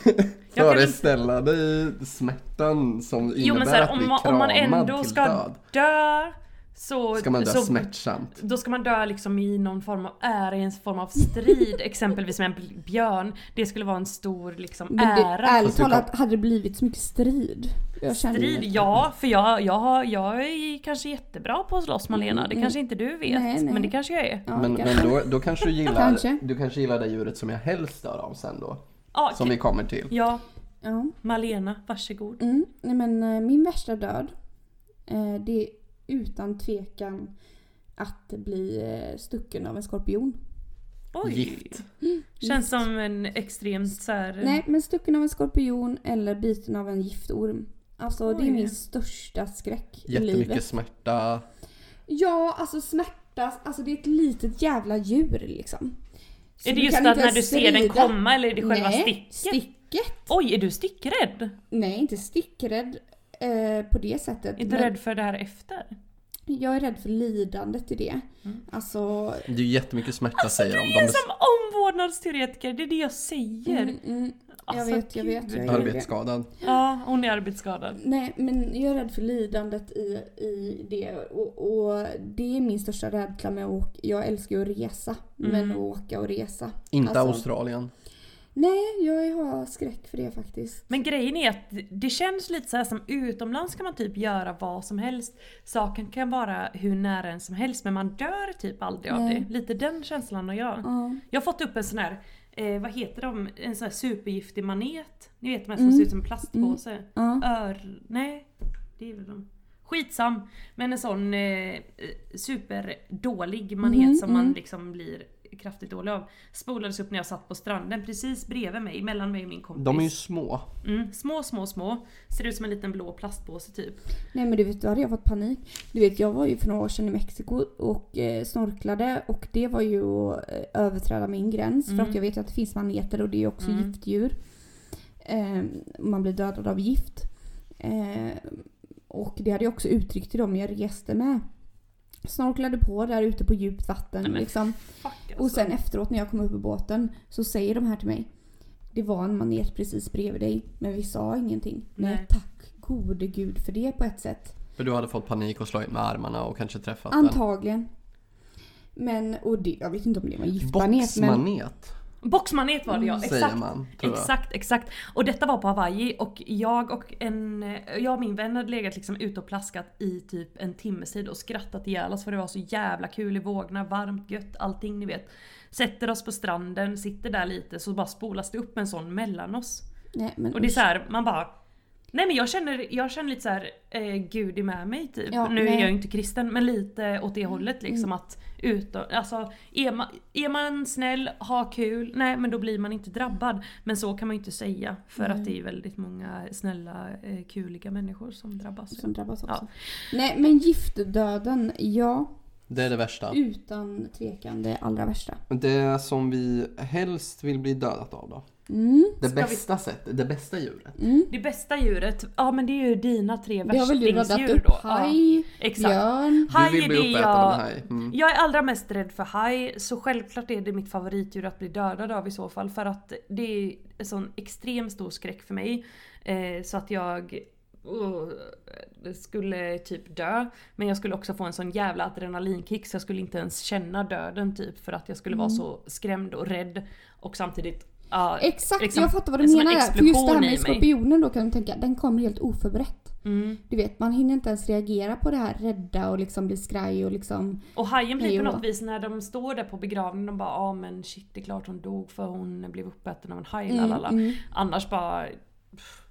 S2: kan
S6: föreställa dig smärtan som innebär
S2: Jo men så här,
S6: att bli
S2: om, man,
S6: kramad
S2: om man ändå
S6: till
S2: ska
S6: död?
S2: dö så...
S6: Ska man dö
S2: så,
S6: smärtsamt?
S2: Då ska man dö liksom i någon form av ära, i en form av strid. exempelvis med en bl- björn. Det skulle vara en stor liksom
S1: Men det,
S2: ära.
S1: ärligt
S6: Fast du
S1: talat hade det blivit så mycket strid. Jag känner-
S2: Strid, ja. För jag, jag, har- jag är kanske jättebra på att slåss Malena. Det kanske inte du vet.
S1: Nej, nej.
S2: Men det kanske jag är.
S1: Ja,
S6: Men,
S1: kanske.
S6: men då,
S2: (laughs)
S6: då kanske du gillar,
S1: Kanske.
S6: du kanske gillar det djuret som jag helst dör av sen då.
S2: Ja,
S6: Som vi kommer till.
S2: ja
S1: ja.
S2: Malena, varsågod.
S1: Mm, nej men eh, min värsta död eh, det är utan tvekan att bli eh, stucken av en skorpion.
S2: Oj.
S6: Gift.
S2: Känns som en extremt så här...
S1: Nej men stucken av en skorpion eller biten av en giftorm. Alltså det
S2: Oj.
S1: är min största skräck i
S6: Jättemycket
S1: livet.
S6: smärta.
S1: Ja, alltså smärta, alltså det är ett litet jävla djur liksom. Så
S2: är det
S1: du
S2: just
S1: kan
S2: att
S1: inte
S2: när du
S1: ens
S2: ser den
S1: strida.
S2: komma eller är det själva
S1: Nej,
S2: sticket?
S1: sticket?
S2: Oj, är du stickrädd?
S1: Nej, inte stickrädd eh, på det sättet.
S2: Är du
S1: men
S2: rädd för det här efter?
S1: Jag är rädd för lidandet i det.
S2: Mm.
S1: Alltså...
S6: Det är ju jättemycket smärta
S2: Alltså det
S6: säger de.
S2: är
S6: de
S2: som omvårdnadsteoretiker, det är det jag säger.
S1: Mm, mm, jag
S2: Alltså,
S1: vet, jag vet.
S2: gud.
S1: Jag
S6: är
S1: är
S6: arbetsskadad.
S2: Ja, hon är arbetsskadad.
S1: Nej, men jag är rädd för lidandet i, i det och, och det är min största rädsla med att åka. Jag älskar ju att resa,
S2: Mm.
S1: men att åka och resa.
S6: Inte
S1: Alltså,
S6: Australien.
S1: Nej, jag har skräck för det faktiskt.
S2: Men grejen är att det känns lite så här som utomlands kan man typ göra vad som helst. Saken kan vara hur nära en som helst men man dör typ aldrig av
S1: Nej.
S2: det. Lite den känslan har jag.
S1: Ja.
S2: Jag har fått upp en sån här, eh, vad heter de, en sån här supergiftig manet. Ni vet de här som
S1: Mm.
S2: ser ut som en plastpåse.
S1: Ja.
S2: Ör... Nej. Det är väl de. Skitsam. Men en sån eh, superdålig manet
S1: Mhm,
S2: som man
S1: mm.
S2: liksom blir kraftigt dålig av. Spolades upp när jag satt på stranden precis bredvid mig, mellan mig och min kompis.
S6: De är ju små.
S2: Mm, små, små, små. Ser ut som en liten blå plastpåse typ.
S1: Nej men du vet, då hade jag fått panik. Du vet, jag var ju för några år sedan i Mexiko och eh, snorklade och det var ju att eh, överträda min gräns
S2: Mm.
S1: för att jag vet att det finns maneter och det är ju också giftdjur. Eh, man blir dödad av gift. Eh, och det hade jag också uttryckt till dem jag reste med. Snorklade på där ute på djupt vatten
S2: Nej, men
S1: liksom.
S2: Fuck alltså.
S1: Och sen efteråt när jag kom upp i båten så säger de här till mig. Det var en manet precis bredvid dig men vi sa ingenting. Nej,
S2: Nej.
S1: tack gode gud för det på ett sätt.
S6: För du hade fått panik och slagit med armarna och kanske träffat en
S1: Antagligen. Men och det, jag vet inte om det var giftmanet men
S6: boxmanet.
S2: Boxmanet var det ja,
S6: Mm. Säger
S2: exakt.
S6: man, tror jag.
S2: exakt, exakt. Och detta var på Hawaii och jag och en, eh, jag och min vän hade legat liksom ute och plaskat i typ en timmes tid och skrattat ihjäl oss för det var så jävla kul i vågorna, varmt, gött, allting ni vet. Sätter oss på stranden, sitter där lite så bara spolas det upp en sån mellan oss.
S1: Nej men
S2: Och det är
S1: usch.
S2: så här, man bara Nej men jag känner, jag känner lite så här, eh, Gud är med mig typ.
S1: Ja,
S2: nu är
S1: nej. Mm,
S2: jag ju inte kristen men lite åt det hållet liksom att utom, alltså, är, man, är man snäll, har kul, nej men då blir man inte drabbad. Men så kan man ju inte säga för att det är ju väldigt många snälla, eh, kuliga människor som drabbas.
S1: som drabbas också.
S2: Ja.
S1: Nej men giftdöden, ja.
S6: Det är det värsta.
S1: Utan tvekan det allra värsta.
S6: Det som vi helst vill bli dödat av då?
S1: Mm.
S6: Det
S2: vi-
S6: bästa sättet, det bästa djuret.
S2: Det bästa djuret, ja men det är ju dina tre
S1: Det har väl du
S2: värstingsdjur då.
S1: räddat upp?
S2: Ja,
S1: Haj,
S2: exakt.
S1: björn.
S2: Haj
S6: du vill
S2: är
S6: bli
S2: det
S6: uppäten
S2: jag-
S6: av en haj. Mm.
S2: Jag är allra mest rädd för haj, så självklart är det mitt favoritdjur att bli dödad av i så fall. För att det är en sån extremt stor skräck för mig. Eh, så att jag uh, skulle typ dö. Men jag skulle också få en sån jävla adrenalinkick så jag skulle inte ens känna döden typ. För att jag skulle vara så skrämd och rädd. Och samtidigt... ja,
S1: Exakt,
S2: liksom,
S1: jag fattar vad
S2: som
S1: du
S2: en
S1: menar. där. För just det här
S2: explosion i
S1: med
S2: mig.
S1: skorpionen då kan du tänka, den kommer helt oförberett.
S2: Mm.
S1: Du vet, man hinner inte ens reagera på det här rädda och liksom bli skraj och liksom...
S2: Och hajen blir
S1: Jo.
S2: på något vis när de står där på begravningen och bara ja ah, men shit det är klart hon dog för hon blev uppäten av en haj. lalala." Annars bara pff,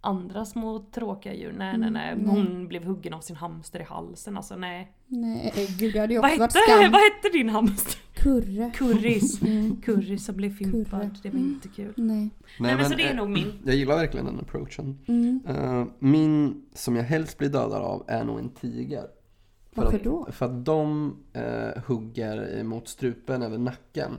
S2: andra små tråkiga djur. Nej nej nej. Hon blev huggen av sin hamster i halsen. Alltså nej.
S1: Nej, eh, gud det hade ju
S2: Vad
S1: också varit
S2: hette, (laughs)
S1: skam.
S2: vad hette din hamster?
S1: Kurre.
S2: Kurris.
S1: Mm.
S2: Kurris som blev
S1: Kurre.
S2: fimpad. Det var inte kul.
S1: Nej.
S2: Nej, men så det är
S6: eh,
S2: nog min.
S6: Jag gillar verkligen den approachen.
S1: Mm.
S6: Eh, min som jag helst blir dödad av är nog en tiger. För
S1: Varför
S6: att,
S1: då?
S6: För att de eh, hugger mot strupen eller nacken.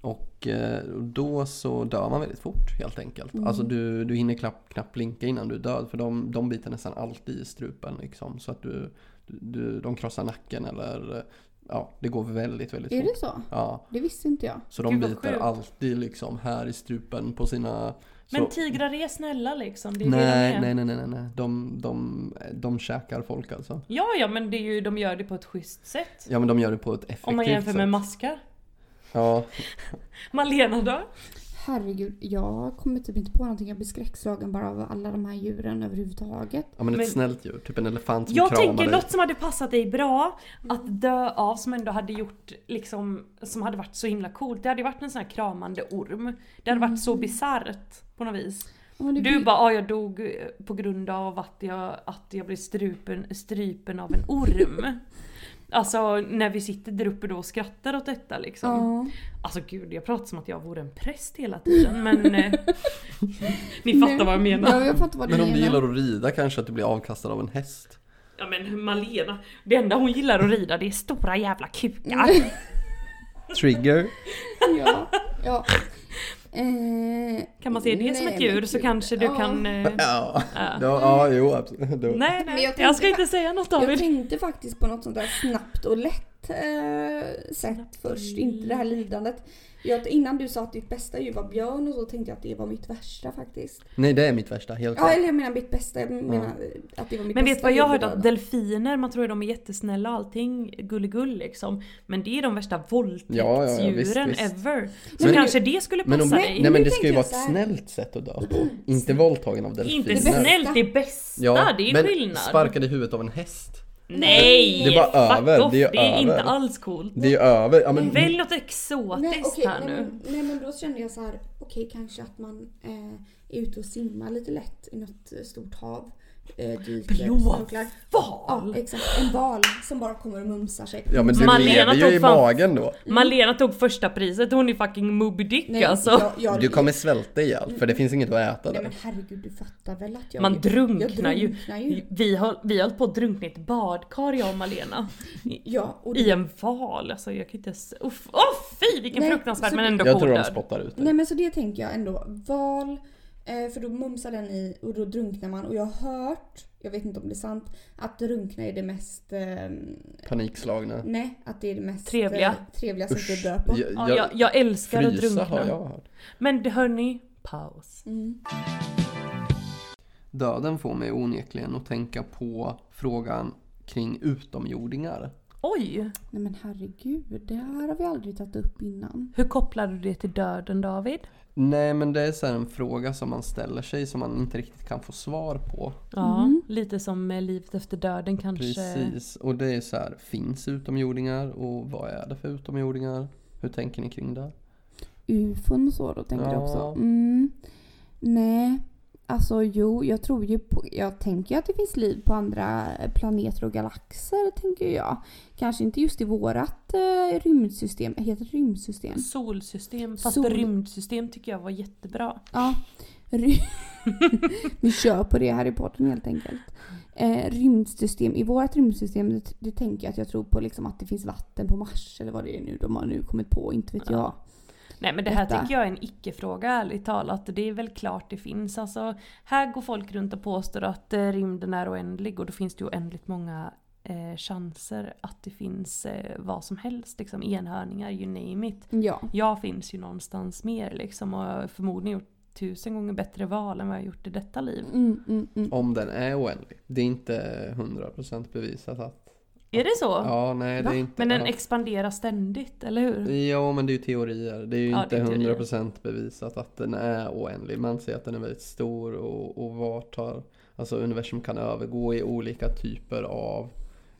S6: Och eh, då så dör man väldigt fort helt enkelt. Alltså du, du hinner knappt, knappt blinka innan du är död. För de, de biter nästan alltid i strupen liksom. Så att du, du, de krossar nacken eller eh, ja, det går väldigt, väldigt
S1: Är
S6: fort.
S1: det så?
S6: Ja,
S1: Det visste inte jag.
S6: så de
S2: Gud, vad
S6: biter
S2: sjukt.
S6: alltid liksom här i strupen på sina...
S2: Men
S6: så-
S2: tigrar är snälla liksom. Det är det de
S6: Nej,
S2: är.
S6: nej, nej, nej, nej, nej. De, de, de käkar folk alltså.
S2: Ja ja men det är ju, de gör det på ett schysst sätt.
S6: Ja men de gör det på ett effektivt
S2: Om man jämför
S6: sätt.
S2: med maskar.
S6: Ja,
S2: Malena då?
S1: Herregud, jag kommer typ inte på någonting. Jag blir skräckslagen bara av alla de här djuren överhuvudtaget.
S6: ja men ett
S2: Men-
S6: snällt djur. Typ en elefant som
S2: Jag
S6: kramar
S2: tänker
S6: dig.
S2: något som hade passat dig bra att dö av som ändå hade gjort liksom, som hade varit så himla coolt. Det hade ju varit en sån här kramande orm. Det hade varit så bisarrt på något vis.
S1: Men det
S2: Du
S1: blir-
S2: bara ah, jag dog eh, på grund av att jag, att jag blev strupen, strypen av en orm. alltså när vi sitter där uppe då och skrattar åt detta liksom.
S1: Ja.
S2: Alltså gud jag pratar som att jag vore en präst hela tiden men... eh, ni fattar vad jag menar.
S1: Ja, jag fattar vad du
S6: Men om
S1: menar.
S6: du gillar att rida kanske att du blir avkastad av en häst?
S2: Ja men Malena, det enda hon gillar att rida det är stora jävla kukar.
S1: Mm.
S6: Trigger?
S1: ja, ja. Eh,
S2: Kan man se det som
S1: nej,
S2: ett djur
S1: men
S2: så
S1: gud.
S2: kanske du
S1: Ja.
S2: kan... eh,
S6: Ja.
S2: Ja.
S6: Ja, ja jo absolut. Då-
S2: Nej
S1: Men
S2: nej,
S1: jag
S2: jag,
S1: tänkte
S2: ska inte säga något
S1: Jag
S2: David.
S1: tänkte faktiskt på något sånt där snabbt och lätt eh, sätt först, inte det här lidandet. Jag, innan du sa att ditt bästa djur var björn och så tänkte jag att det var mitt värsta faktiskt.
S6: Nej det är mitt värsta, helt
S1: Ja
S6: klart.
S1: eller jag menar mitt bästa, jag menar att det var mitt
S2: Men vet
S1: bästa
S2: vad jag har
S1: djur
S2: hört att
S1: då.
S2: delfiner, man tror att de är jättesnälla och allting gulligull liksom. Men det är de värsta
S6: Ja, ja, ja, visst,
S2: våldtäktsdjuren
S6: visst.
S2: ever. Så
S6: Men-
S2: kanske det skulle
S6: Men,
S2: passa
S6: om,
S2: dig.
S6: nej, men
S1: Nu
S6: det ska ju
S1: tänker jag
S6: vara
S1: så
S6: ett
S1: här.
S6: snällt sätt att dö på. Inte våldtagen av delfiner.
S2: Inte snällt, det är bästa.
S6: Ja,
S2: det är
S6: men
S2: skillnad.
S6: sparkad i huvudet av en häst.
S2: Nej!
S6: Det är bara
S2: fuck
S6: över,
S2: Off.
S6: det är över.
S2: inte alls coolt.
S6: Det är över. Ja, men,
S2: Välj något exotiskt
S1: Nej, okej,
S2: här
S1: nej,
S2: nu.
S1: men, nej men då kände jag så här, okej kanske att man eh, är ute och simmar lite lätt i något stort hav. Eh, dyker,
S2: Blåval!
S1: snorklar. Ja exakt, en val som bara kommer och mumsar sig.
S6: ja, men du
S2: Malena
S6: lever
S2: tog
S6: ju i
S2: fan-
S6: magen då.
S2: Malena tog första priset, hon är fucking Moby Dick
S1: Nej,
S2: alltså.
S1: jag- jag-
S6: Du kommer svälta ihjäl för det finns inget att äta
S1: Nej men
S6: där.
S1: herregud du fattar väl att jag...
S2: Man drunknar,
S1: jag drunknar ju.
S2: ju. Vi har, vi har hållit på att drunkna i ett badkar jag och Malena.
S1: Ja, och
S2: I en val, alltså jag kan inte ens... Uff, åh fy vilken
S1: Nej,
S2: fruktansvärd
S1: så
S2: men
S1: det-
S2: ändå
S6: Jag
S2: god
S6: tror de
S2: död.
S6: spottar ut
S1: Nej
S6: dig.
S1: men så det tänker jag ändå. Val, eh, för då mumsar den i och då drunknar man. Och jag har hört, jag vet inte om det är sant, att drunkna är det mest... Eh,
S6: Panikslagna.
S1: nej, att det är det mest...
S2: Trevliga.
S1: Eh, trevliga sättet att dö på.
S2: Ja, jag, jag älskar att
S6: frysa har
S2: drunkna.
S6: jag hört.
S2: Men det- hörni, paus.
S1: Mm.
S6: Döden får mig onekligen att tänka på frågan kring utomjordingar.
S2: Oj!
S1: Nej men herregud, det här har vi aldrig tagit upp innan.
S2: Hur kopplar du det till döden David?
S6: Nej men det är så här en fråga som man ställer sig som man inte riktigt kan få svar på.
S2: Ja, lite som eh, livet efter döden kanske.
S6: Precis, och det är så här, finns utomjordingar och vad är det för utomjordingar? Hur tänker ni kring det?
S1: ufon och så då tänker jag också.
S6: Ja.
S1: Mm. Nej. Alltså jo, jag tror ju på, jag tänker ju att det finns liv på andra planeter och galaxer tänker jag. Kanske inte just i vårat eh, rymdsystem, heter det rymdsystem?
S2: Solsystem, fast
S1: Sol-
S2: rymdsystem tycker jag var jättebra.
S1: Ja. Ry- (laughs) Vi kör på det här i podden helt enkelt. Eh, rymdsystem, i vårt rymdsystem det, det tänker jag att jag tror på liksom att det finns vatten på Mars eller vad det är nu de har nu kommit på, inte vet jag.
S2: Nej men det här
S1: Detta.
S2: tycker jag är en icke-fråga ärligt talat. Det är väl klart det finns. Alltså, här går folk runt och påstår att eh, rymden är oändlig och då finns det ju oändligt många eh, chanser att det finns eh, vad som helst. Liksom enhörningar, you name it.
S1: Ja.
S2: Jag finns ju någonstans mer liksom och har förmodligen gjort tusen gånger bättre val än vad jag gjort i detta liv.
S1: Mm, mm, mm.
S6: Om den är oändlig. Det är inte 100% bevisat att...
S2: Är det så?
S6: Ja, nej det
S1: Va?
S6: är inte...
S2: Men den
S6: ja.
S2: expanderar ständigt, eller hur?
S6: Ja, men det är ju teorier. Det är ju
S2: Ja, det
S6: inte
S2: är teorier.
S6: 100% bevisat att den är oändlig. Man säger att den är väldigt stor och, och vart har... Alltså universum kan övergå i olika typer av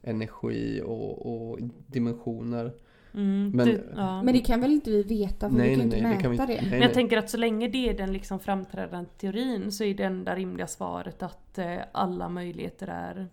S6: energi och, och dimensioner.
S2: Mm,
S6: Men-
S2: du, ja.
S1: Men det kan väl inte vi veta för vi kan ju inte mäta det.
S6: Nej,
S2: Men
S6: nej.
S2: jag tänker att så länge det är den liksom framträdande teorin så är det enda rimliga svaret att eh, alla möjligheter är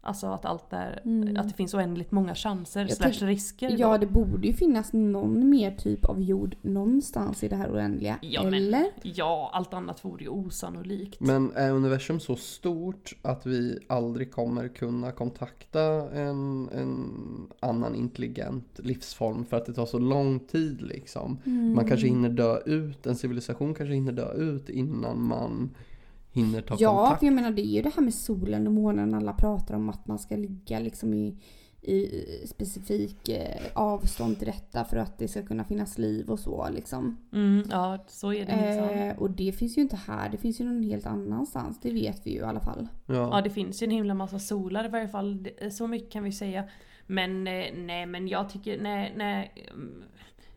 S2: Alltså att allt är, att det finns oändligt många chanser
S1: Jag
S2: slash
S1: tänk-
S2: risker.
S1: Mm. Ja,
S2: då.
S1: det borde ju finnas någon mer typ av jord någonstans i det här oändliga.
S2: ja,
S1: Eller?
S2: men, ja, allt annat vore ju osannolikt.
S6: Men är universum så stort att vi aldrig kommer kunna kontakta en, en annan intelligent livsform för att det tar så lång tid liksom?
S1: Mm.
S6: Man
S2: Mm.
S6: kanske hinner dö ut, en civilisation kanske hinner dö ut innan man hinner ta
S1: Ja,
S6: kontakt.
S1: för jag menar det är ju det här med solen och månen alla pratar om att man ska ligga liksom i, i specifik eh, avstånd till detta för att det ska kunna finnas liv och så liksom.
S2: Mm, ja, så är det minsann.
S1: Eh, och det finns ju inte här, det finns ju någon helt annanstans. Det vet vi ju i alla fall.
S2: Ja
S6: Ja.
S2: det finns ju en himla massa solar i varje fall, Det- så mycket kan vi säga. Men eh, nej men jag tycker, nej nej. mm,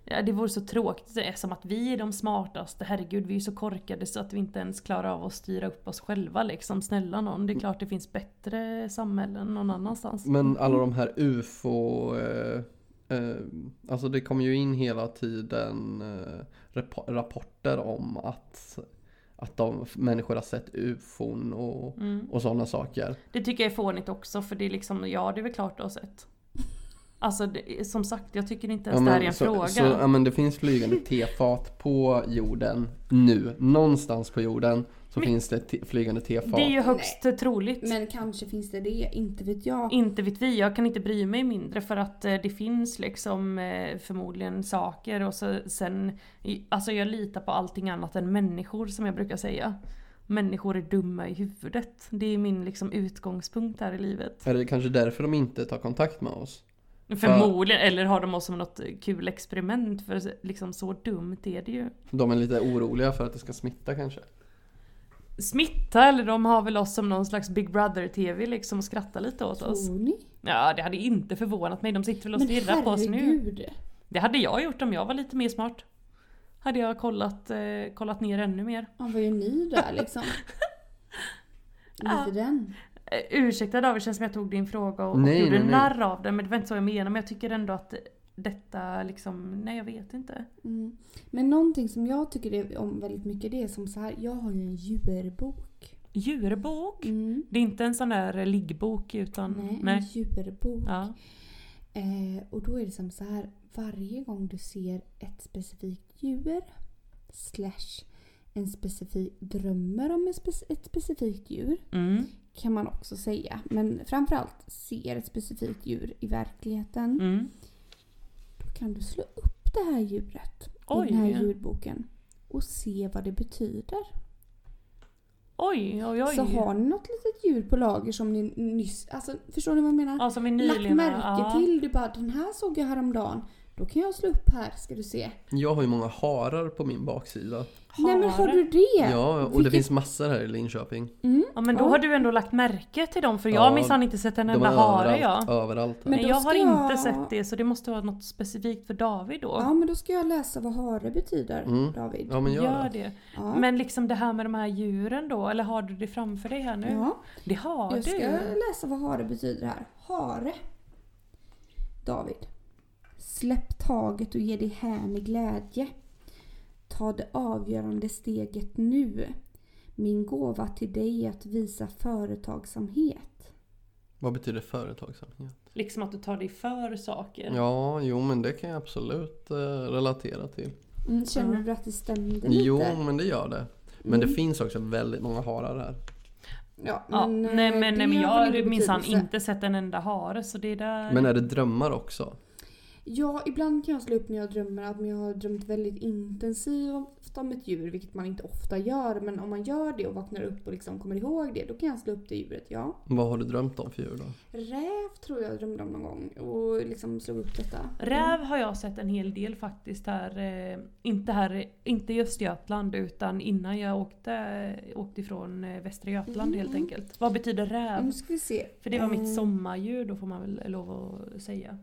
S2: ja, Det vore så tråkigt, det är som att vi är de smartaste, herregud vi är så korkade så att vi inte ens klarar av att styra upp oss själva liksom. Snälla någon, det är klart det finns bättre samhällen någon annanstans.
S6: Mm. Men alla de här UFO... Eh, eh, alltså det kommer ju in hela tiden eh, rap- rapporter om att att de, människor har sett ufon och,
S2: Mm.
S6: och sådana saker.
S2: Det tycker jag är fånigt också för det är liksom, ja det är väl klart du har sett. Alltså det, som sagt, jag tycker inte ens det här är en
S6: så,
S2: fråga.
S6: Så, ja, men det finns flygande tefat på jorden nu. Någonstans på jorden så
S2: Men-
S6: finns det te, flygande tefat.
S2: det är ju högst troligt.
S1: Men kanske finns det det, inte vet jag.
S2: Inte vet vi, jag kan inte bry mig mindre för att eh, det finns liksom eh, förmodligen saker och så, sen, i- alltså jag litar på allting annat än människor som jag brukar säga. Människor är dumma i huvudet. Det är min liksom utgångspunkt här i livet.
S6: Är det kanske därför de inte tar kontakt med oss?
S2: Förmodligen, eller har de oss som något kul experiment för liksom så dumt är det ju.
S6: De är lite oroliga för att det ska smitta kanske.
S2: Smitta eller de har väl oss som någon slags Big Brother-TV liksom och skrattar lite åt oss.
S1: Tror ni?
S2: Ja, det hade inte förvånat mig. De sitter väl och
S1: Oh. Men
S2: stirrar på oss nu.
S1: herregud.
S2: Det hade jag gjort om jag var lite mer smart. Hade jag kollat, eh, kollat ner ännu mer.
S1: Ja, vad gör ni (laughs) där liksom?
S2: Ja.
S1: Lite den.
S2: Eh, ursäkta David, känns som jag tog din fråga och,
S6: Nej,
S2: och gjorde
S6: nej, nej.
S2: narr av den. Men det var inte så jag menade. Men jag tycker ändå att detta liksom, nej jag vet inte.
S1: Mm. Men någonting som jag tycker är om väldigt mycket det är som så här, jag har ju en djurbok.
S2: Djurbok?
S1: Mm.
S2: Det är inte en sån där eh, liggbok utan...
S1: Nej, en
S2: nej.
S1: djurbok.
S2: Ja.
S1: Eh, och då är det som så här, varje gång du ser ett specifikt djur slash en specifik drömmer om en spec- ett specifikt djur
S2: Mm,
S1: kan man också säga. Men framförallt ser ett specifikt djur i verkligheten.
S2: mm.
S1: Då kan du slå upp det här djuret i den här
S2: Oj,
S1: djurboken och se vad det betyder.
S2: oj, oj, oj.
S1: Så har ni något litet djur på lager som ni nyss... Alltså, förstår ni vad jag menar?
S2: ja, som vi
S1: Lagt
S2: nyligen... har-
S1: märke
S2: ja.
S1: till. Du bara den här såg jag häromdagen. Då kan jag slå upp här ska du se.
S6: Jag har ju många harar på min baksida.
S1: Nej men har du det?
S6: Ja, och det
S1: Vilket-
S6: finns massor här i Linköping.
S1: Mm.
S2: Ja men då
S1: Ja.
S2: har du ändå lagt märke till dem för jag
S6: Ja,
S2: har minsann inte sett en
S6: De är
S2: enda hare jag.
S6: överallt. överallt här.
S1: Men
S2: Nej,
S1: då
S2: jag
S1: ska
S2: har inte
S1: jag-
S2: sett det så det måste vara något specifikt för David då.
S1: Ja men då ska jag läsa vad hare betyder
S6: Mm.
S1: David.
S6: Ja, men gör,
S2: Gör
S6: det.
S2: det.
S1: Ja.
S2: Men liksom det här med de här djuren då, eller har du det framför dig här nu?
S1: ja.
S2: Det har
S1: Jag ska
S2: du.
S1: läsa vad hare betyder här. Hare. David. Släpp taget och ge dig hän i glädje. Ta det avgörande steget nu. Min gåva till dig är att visa företagsamhet.
S6: Vad betyder företagsamhet?
S2: Liksom att du tar dig för saker.
S6: Ja, jo men det kan jag absolut eh, relatera till.
S1: Mm, känner
S2: Ja.
S1: du att det stämde lite?
S6: Jo, men det gör det. Men det
S1: Mm.
S6: finns också väldigt många harar här.
S1: Ja,
S2: Ja,
S1: eh,
S2: nej men, nej,
S1: det
S2: men jag
S1: har väl typ
S2: har
S1: ingen
S2: minsann
S1: betydelse.
S2: inte sett en enda hare så det är där...
S6: Men är det drömmar också?
S1: Ja, ibland kan jag slå upp när jag drömmer att jag har drömt väldigt intensivt om ett djur, vilket man inte ofta gör. Men om man gör det och vaknar upp och liksom kommer ihåg det, då kan jag slå upp det djuret, ja.
S6: Vad har du drömt om för djur då?
S1: Räv tror jag drömde om någon gång och liksom slog upp detta.
S2: Räv har jag sett en hel del faktiskt här. Eh, inte, här inte i Östergötland utan innan jag åkte, åkte ifrån eh, Västra Götaland helt
S1: Mm.
S2: enkelt. Vad betyder
S1: Mm. Nu
S2: räv?
S1: ska vi se.
S2: För det var mitt
S1: Eh,
S2: sommardjur då får man väl lov att säga.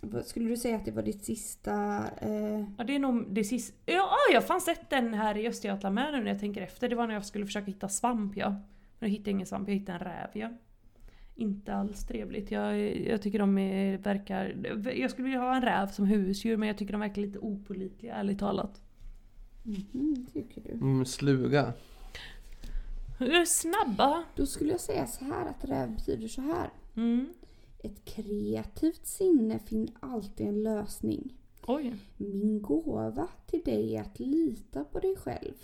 S1: vad- Skulle du säga att det var ditt sista... Eh,
S2: Ja det är nog det sista. Ja ah, jag har fan sett den här i Östergötland med nu när jag tänker efter. Det var när jag skulle försöka hitta svamp ja. Men jag hittade ingen svamp, jag hittade en räv ja. Inte alls trevligt. Jag, jag tycker de är, verkar... Jag skulle vilja ha en räv som husdjur men jag tycker de verkar lite opålitliga ärligt talat.
S1: mhm, tycker du?
S6: Mm, sluga.
S2: Hur snabba?
S1: Då skulle jag säga så här att räv betyder så här.
S2: Mm.
S1: Ett kreativt sinne finner alltid en lösning.
S2: Oj.
S1: Min gåva till dig är att lita på dig själv.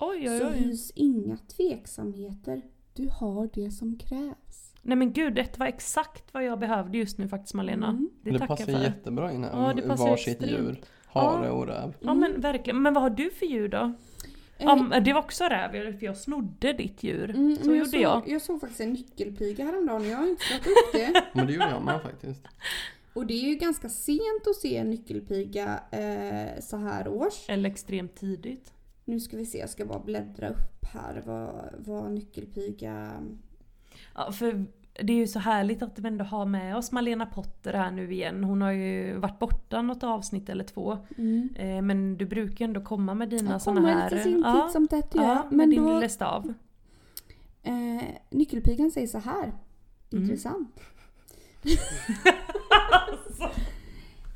S2: Oj, oj,
S1: Så
S2: oj.
S1: hys inga tveksamheter. Du har det som krävs.
S2: Nej men gud, det var exakt vad jag behövde just nu faktiskt Malena.
S1: Mm.
S2: Det,
S6: Det,
S2: tackar
S6: passar
S2: jag för.
S6: jättebra in här.
S2: Ja, det passar
S6: Varsitt
S2: extremt.
S6: djur. Hare och räv.
S2: Ja
S1: mm.
S2: men verkligen. Men vad har du för djur
S1: Eh.
S2: då? Ja, men det var också räv, för jag snodde ditt djur.
S1: Mm,
S2: så
S1: men
S2: gjorde
S1: såg,
S2: jag.
S1: Jag såg faktiskt en nyckelpiga häromdagen och jag har inte slagit upp det.
S2: (laughs)
S6: Men det gjorde jag med faktiskt.
S1: Och det är ju ganska sent att se en nyckelpiga eh, så här års.
S2: Eller extremt tidigt.
S1: Nu ska vi se, jag ska bara bläddra upp här vad, vad nyckelpiga...
S2: Ja, för det är ju så härligt att vi ändå har med oss Malena Potter här nu igen. Hon har ju varit borta något avsnitt eller två. Eh, men du brukar ju ändå komma med dina
S1: Mm. Jag
S2: såna
S1: kommer
S2: här...
S1: lite sin titt som tätt gör
S2: ja,
S1: jag.
S2: men
S1: Men
S2: din
S1: då,
S2: lilla stav.
S1: eh, nyckelpigan säger så här.
S2: Mm.
S1: Intressant.
S2: Alltså.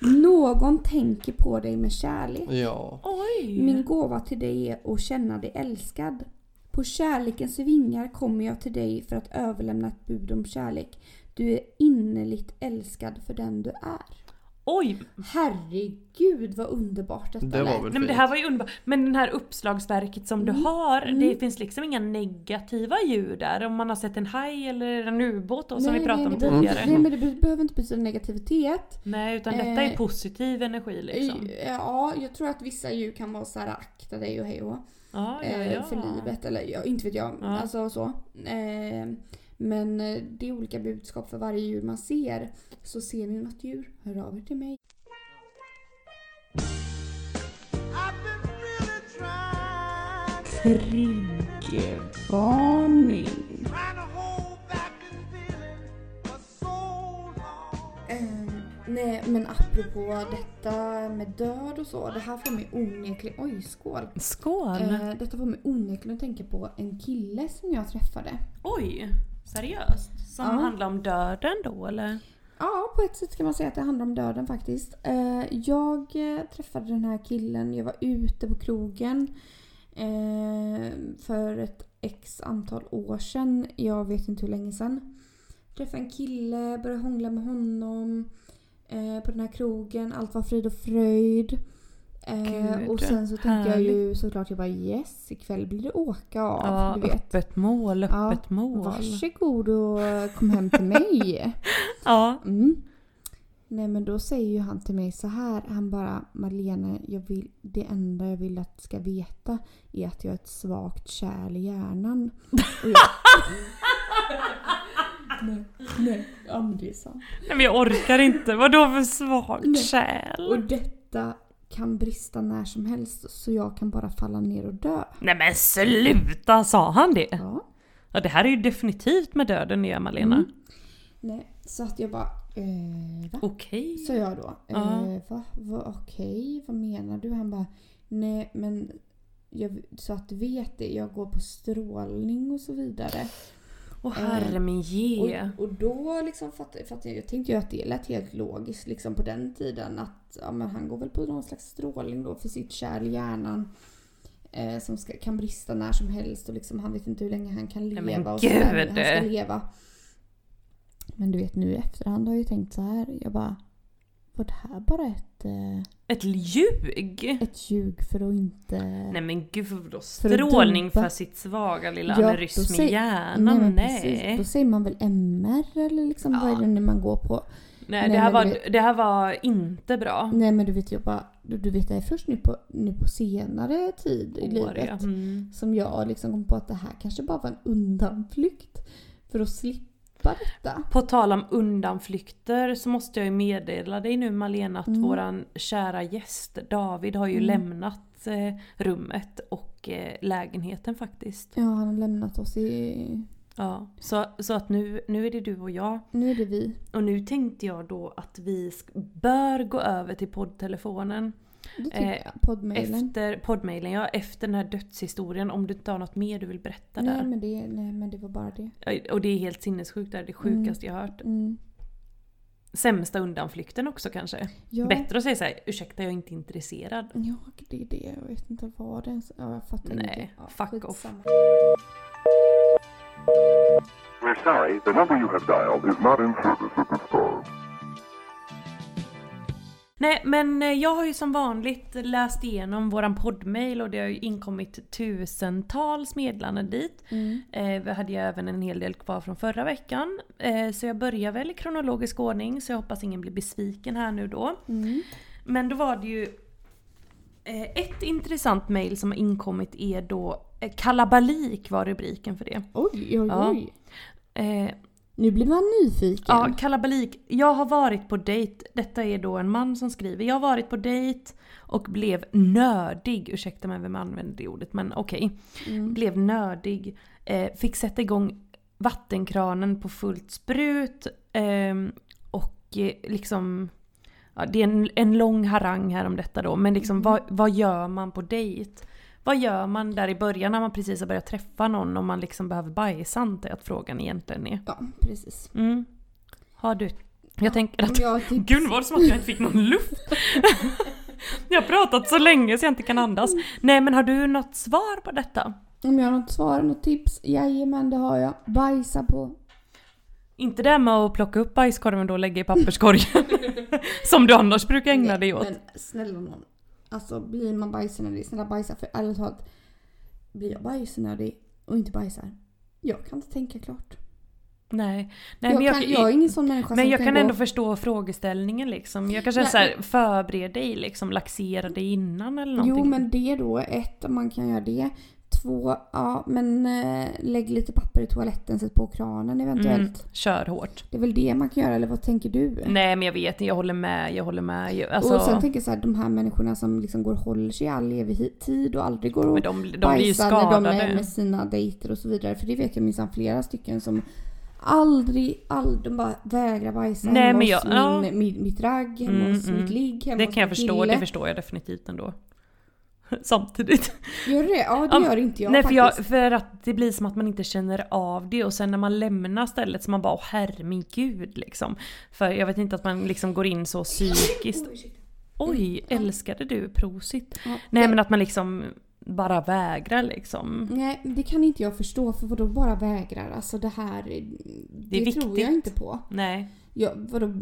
S1: Någon tänker på dig med kärlek.
S6: Ja.
S2: Oj!
S1: Min gåva till dig är att känna dig älskad. På kärlekens vingar kommer jag till dig för att överlämna ett bud om kärlek. Du är innerligt älskad för den du är.
S2: Oj!
S1: Herregud vad underbart detta
S6: Det var
S1: lät.
S6: väl
S2: Nej, men det här var ju underbart. Men den här uppslagsverket som
S1: Mm.
S2: du har, det finns liksom inga negativa ljud där. Om man har sett en haj eller en ubåt då, som vi pratade
S1: nej,
S2: om
S1: det behöver inte-
S2: tidigare.
S1: Nej men det be- behöver inte betyda negativitet.
S2: Nej utan detta är
S1: Eh,
S2: positiv energi liksom.
S1: Ja, jag tror att vissa djur kan vara så här akta dig och hej och hå,
S2: Ja, ja,
S1: eh,
S2: ja.
S1: för livet eller ja, inte vet jag.
S2: Ja.
S1: Alltså så. Eh, Men eh, det är olika budskap för varje djur man ser. Så ser ni något djur, hör av er till mig. Eh, nej men apropå detta med död och så. Det här får mig onekligen... Oj, skål!
S2: Skål!
S1: Eh, detta får mig onekligen att tänka på en kille som jag träffade.
S2: Oj! Seriöst? Som
S1: Ja.
S2: handlar om döden då eller?
S1: Ja, på ett sätt kan man säga att det handlar om döden faktiskt. Eh, Jag eh, träffade den här killen, jag var ute på krogen eh, för ett x antal år sedan. Jag vet inte hur länge sedan. Träffade en kille, började hångla med honom eh, på den här krogen. Allt var frid och fröjd. Eh,
S2: Gud,
S1: och sen så tänkte jag ju
S2: härligt.
S1: såklart, jag bara yes, ikväll blir det åka av.
S2: Ja,
S1: du vet.
S2: öppet mål,
S1: Ja,
S2: öppet mål.
S1: Varsågod och kom hem till mig.
S2: Ja.
S1: Mm. Nej men då säger ju han till mig så här. Han bara Malena, jag vill, det enda jag vill att du ska veta är att jag har ett svagt kärl i hjärnan. Och jag, (laughs) nej, nej, ja men det är sant.
S2: Nej men jag orkar inte, vadå för svagt
S1: Nej.
S2: kärl?
S1: Och detta kan brista när som helst så jag kan bara falla ner och dö.
S2: Nej men sluta, sa han det?
S1: Ja.
S2: Ja det här är ju definitivt med döden det gör Malena.
S1: Mm. Nej, så att jag bara eh, va?
S2: Okej.
S1: Sa jag då.
S2: Ja.
S1: Eh, va? va? Okej, vad menar du? Han bara, nej men jag, så att du vet det, jag går på strålning och så vidare.
S2: Åh
S1: eh,
S2: herre min ge.
S1: Och, och då liksom fattade fatt, jag, tänkte ju att det lät helt logiskt liksom på den tiden att ja, men han går väl på någon slags strålning då för sitt kärl i hjärnan. Eh, som ska, kan brista när som helst och liksom, han vet inte hur länge han kan
S2: Nej,
S1: leva.
S2: men
S1: och så där,
S2: gud!
S1: han ska leva. Men du vet nu i efterhand har jag ju tänkt så här. Jag bara, var det här bara ett, eh,
S2: Ett ljug?
S1: ett ljug för att inte...
S2: Nej men gud vadå
S1: att
S2: strålning
S1: dumpa.
S2: för sitt svaga lilla
S1: Ja,
S2: aneurysm
S1: då
S2: i
S1: säg-
S2: hjärnan? Nej.
S1: men precis. Då säger man väl MR eller liksom, vad är det nu man går på?
S2: Nej, det,
S1: Nej,
S2: här
S1: men
S2: var,
S1: du-
S2: det här var inte bra.
S1: Nej men du vet jag bara, du, du vet det är först nu på, nu på senare tid i
S2: År,
S1: livet
S2: ja. Mm.
S1: som jag liksom kom på att det här kanske bara var en undanflykt för att slippa detta.
S2: På tal om undanflykter så måste jag ju meddela dig nu Malena att
S1: Mm.
S2: våran kära gäst David har ju
S1: Mm.
S2: lämnat eh, rummet och eh, lägenheten faktiskt.
S1: Ja, han har lämnat oss i...
S2: Ja. Så, så att nu, nu är det du och jag.
S1: Nu är det vi.
S2: Och nu tänkte jag då att vi sk- bör gå över till poddtelefonen.
S1: Det tycker
S2: Eh,
S1: jag. Poddmailen.
S2: Efter poddmailen, ja. Efter den här dödshistorien. Om du inte har något mer du vill berätta
S1: Nej
S2: där.
S1: men, det, nej men det var bara det.
S2: Och det är helt sinnessjukt, det är det sjukaste jag hört.
S1: Mm.
S2: Sämsta undanflykten också kanske.
S1: Ja,
S2: Bättre att säga såhär, ursäkta jag är inte intresserad.
S1: ja, det är det. Jag vet inte vad det ens... Ja, jag fattar
S2: Nej,
S1: inte. Ja,
S2: fuck off.
S1: skitsamma.
S7: We're sorry, the number you have dialed is not in service at this time.
S2: Nej men eh, jag har ju som vanligt läst igenom våran poddmail och det har ju inkommit tusentals meddelanden dit.
S1: Mm.
S2: Eh, vi hade ju även en hel del kvar från förra veckan. Eh, så jag börjar väl i kronologisk ordning så jag hoppas ingen blir besviken här nu då.
S1: Mm.
S2: Men då var det ju eh, ett intressant mail som har inkommit är då eh, Kalabalik var rubriken för det.
S1: Oj, oj,
S2: Ja.
S1: oj.
S2: Eh,
S1: Nu blir man nyfiken.
S2: Ja, kalabalik. Jag har varit på dejt. Detta är då en man som skriver. Jag har varit på dejt och blev nördig. Ursäkta mig vem använder det ordet men okej.
S1: Mm.
S2: Blev nördig. Eh, fick sätta igång vattenkranen på fullt sprut. ehm, och eh, liksom... Ja, det är en, en lång harang här om detta då. Men liksom vad, vad gör man på dejt? Vad gör man där i början när man precis har börjat träffa någon om man liksom behöver bajsa antar jag att frågan egentligen är.
S1: ja precis. typ
S2: Mm. Har du? Jag tänker att...
S1: Om jag har tips-
S2: Gud var det som att jag inte fick någon luft? jag har pratat så länge så jag inte kan andas. Nej men har du något svar på detta?
S1: Om jag har något svar, något tips? Jajamän, det har jag. Bajsa på.
S2: Inte det här med att plocka upp bajskorven då och lägga i papperskorgen. (laughs) som du annars brukar ägna dig åt.
S1: Men snälla någon. Alltså blir man bajsnödig, snälla bajsa. För ärligt talat, blir jag bajsnödig och inte bajsar, jag kan inte tänka klart.
S2: Nej. Nej
S1: jag,
S2: men jag,
S1: kan, jag är ingen sån människa
S2: men
S1: som
S2: jag
S1: kan,
S2: kan
S1: gå...
S2: ändå förstå frågeställningen liksom. Jag kanske
S1: Nej,
S2: såhär, förbered dig liksom, laxera dig innan eller någonting.
S1: Jo men det då, ett, om man kan göra det. Två, ja men eh, lägg lite papper i toaletten, sätt på kranen eventuellt.
S2: Mm, kör hårt.
S1: Det är väl det man kan göra, eller vad tänker du?
S2: Nej men jag vet, jag håller med, jag håller med. Jag,
S1: Och sen
S2: alltså,
S1: tänker jag så här, de här människorna som liksom går och håller sig i all evig tid och aldrig går och
S2: men de, de blir ju
S1: bajsar när de är
S2: skadade.
S1: med sina dejter och så vidare. För det vet jag minsann flera stycken som aldrig, aldrig, de bara vägrar bajsa
S2: Nej,
S1: hemma
S2: men jag-
S1: hos
S2: ja.
S1: min, min, mitt ragg, hemma
S2: Mm,
S1: hos
S2: mm.
S1: mitt ligg, hemma
S2: Det
S1: hos
S2: kan jag
S1: min
S2: förstå,
S1: kille.
S2: det förstår jag definitivt ändå. (laughs) Samtidigt.
S1: Gör det? Ja det
S2: Ja,
S1: gör inte jag
S2: Nej för,
S1: faktiskt.
S2: jag, för att det blir som att man inte känner av det och sen när man lämnar stället så man bara åh herre min gud liksom. För jag vet inte att man liksom går in så psykiskt.
S1: Mm.
S2: Oj, älskade du prosit?
S1: Ja,
S2: Nej
S1: det-
S2: men att man liksom bara vägrar liksom.
S1: Nej, det kan inte jag förstå för vadå bara vägrar? Alltså det här, det, tror
S2: viktigt.
S1: jag inte på.
S2: Nej.
S1: Jag, vadå,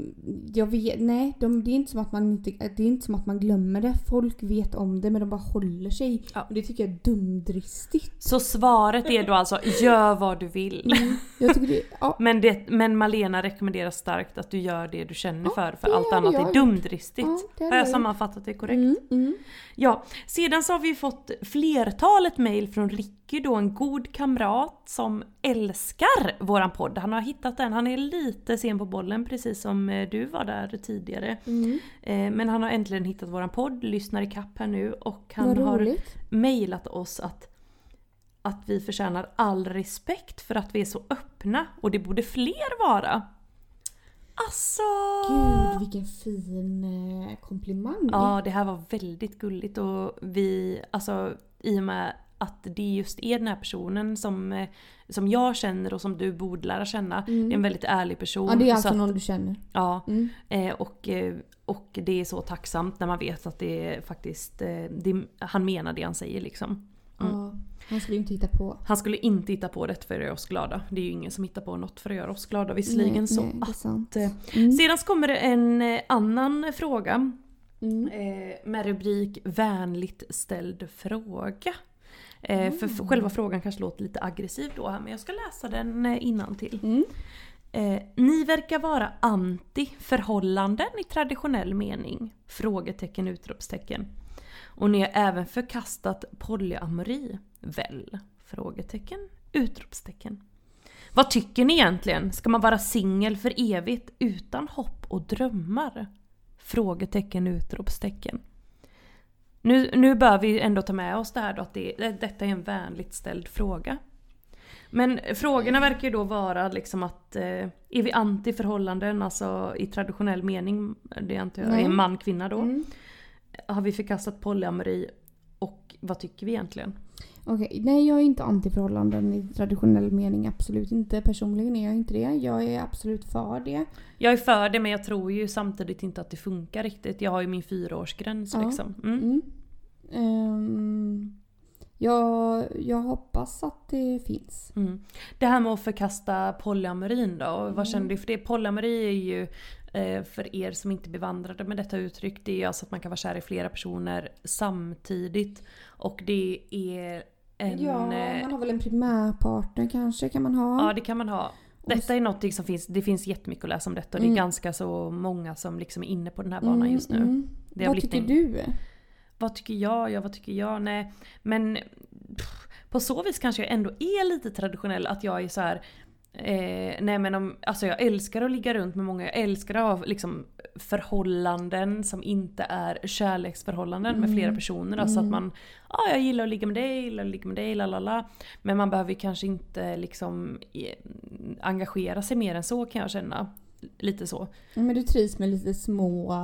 S1: jag vet, nej, de, det, är inte som att man inte, det är inte som att man glömmer det. Folk vet om det men de bara håller sig.
S2: Ja.
S1: Och det tycker jag är dumdristigt.
S2: Så svaret är då alltså gör vad du vill.
S1: Jag tycker det, ja,
S2: Men, det, men Malena rekommenderar starkt att du gör det du känner för för
S1: det
S2: allt
S1: hade
S2: annat
S1: jag
S2: är
S1: gjort.
S2: dumdristigt.
S1: Ja, det hade
S2: har jag
S1: jag gjort.
S2: sammanfattat det korrekt?
S1: mm, mm.
S2: Ja, sedan så har vi fått flertalet mejl från Ricky då, en god kamrat som älskar våran podd. Han har hittat den, han är lite sen på bollen precis som eh, du var där tidigare.
S1: Mm.
S2: Eh, Men han har äntligen hittat våran podd, lyssnar ikapp här nu och han
S1: Vad
S2: har
S1: roligt.
S2: mejlat oss att att vi förtjänar all respekt för att vi är så öppna och det borde fler vara. Alltså!
S1: Gud vilken fin eh, komplimang.
S2: Ja, det här var väldigt gulligt och vi, alltså i och med att det just är den här personen som, eh, som jag känner och som du borde lära känna. Det är en väldigt ärlig person.
S1: Mm. ja, det är
S2: så
S1: alltså
S2: att-
S1: någon du känner. Mm.
S2: Ja, eh, och, eh, och det är så tacksamt när man vet att det är faktiskt, eh, det, han menar det han säger liksom.
S1: Ja, han skulle ju inte hitta på.
S2: Han skulle inte hitta på det för att göra oss glada. Det är ju ingen som hittar på något för att göra oss glada visserligen.
S1: Nej,
S2: så
S1: nej, Mm. det är sant.
S2: att, eh, Sedan så kommer det en eh, annan fråga.
S1: Mm.
S2: Eh, med rubrik vänligt ställd fråga. Eh, för, för själva frågan kanske låter lite aggressiv då här men jag ska läsa den innan till. Eh, ni verkar vara anti förhållanden i traditionell mening? Frågetecken, utropstecken. Och ni har även förkastat polyamori? Väl? Frågetecken, utropstecken. Vad tycker ni egentligen? Ska man vara singel för evigt utan hopp och drömmar? Frågetecken, utropstecken. Nu, nu bör vi ändå ta med oss det här då att det, det- detta är en vänligt ställd fråga. Men frågorna verkar ju då vara liksom att eh, är vi anti förhållanden, alltså i traditionell mening, det antar jag är
S1: Mm.
S2: man kvinna då.
S1: Mm.
S2: Har vi förkastat polyamori och vad tycker vi egentligen?
S1: Okej, nej jag är inte antiförhållanden i traditionell mening, absolut inte. Personligen är jag inte det. Jag är absolut för det.
S2: Jag är för det men jag tror ju samtidigt inte att det funkar riktigt. Jag har ju min fyraårsgräns
S1: Ja.
S2: liksom. Mm.
S1: Mm. Ehm, jag, jag hoppas att det finns.
S2: Mm. Det här med att förkasta polyamorin då, och
S1: Mm.
S2: vad känner du för det? Polyamori är ju, eh, för er som inte är bevandrade med detta uttryck, det är alltså att man kan vara kär i flera personer samtidigt. Och det är en...
S1: ja,
S2: eh,
S1: man har väl en primärpartner kanske kan man ha.
S2: Ja det kan man ha. Detta är någonting som finns, det finns jättemycket att läsa om detta och det är
S1: Mm.
S2: ganska så många som liksom är inne på den här banan
S1: Mm,
S2: just nu.
S1: mm.
S2: Det har
S1: Vad
S2: blivit
S1: tycker
S2: en-
S1: du?
S2: Vad tycker jag? Ja vad tycker jag? Nej. Men pff, på så vis kanske jag ändå är lite traditionell att jag är så här. Eh, nej men om, alltså jag älskar att ligga runt med många, jag älskar att ha liksom förhållanden som inte är kärleksförhållanden med flera personer. Alltså att man, ja ah, jag gillar att ligga med dig, jag gillar att ligga med dig, lalala. Men man behöver ju kanske inte liksom eh, engagera sig mer än så kan jag känna. Lite så.
S1: Ja, Men du trivs med lite små...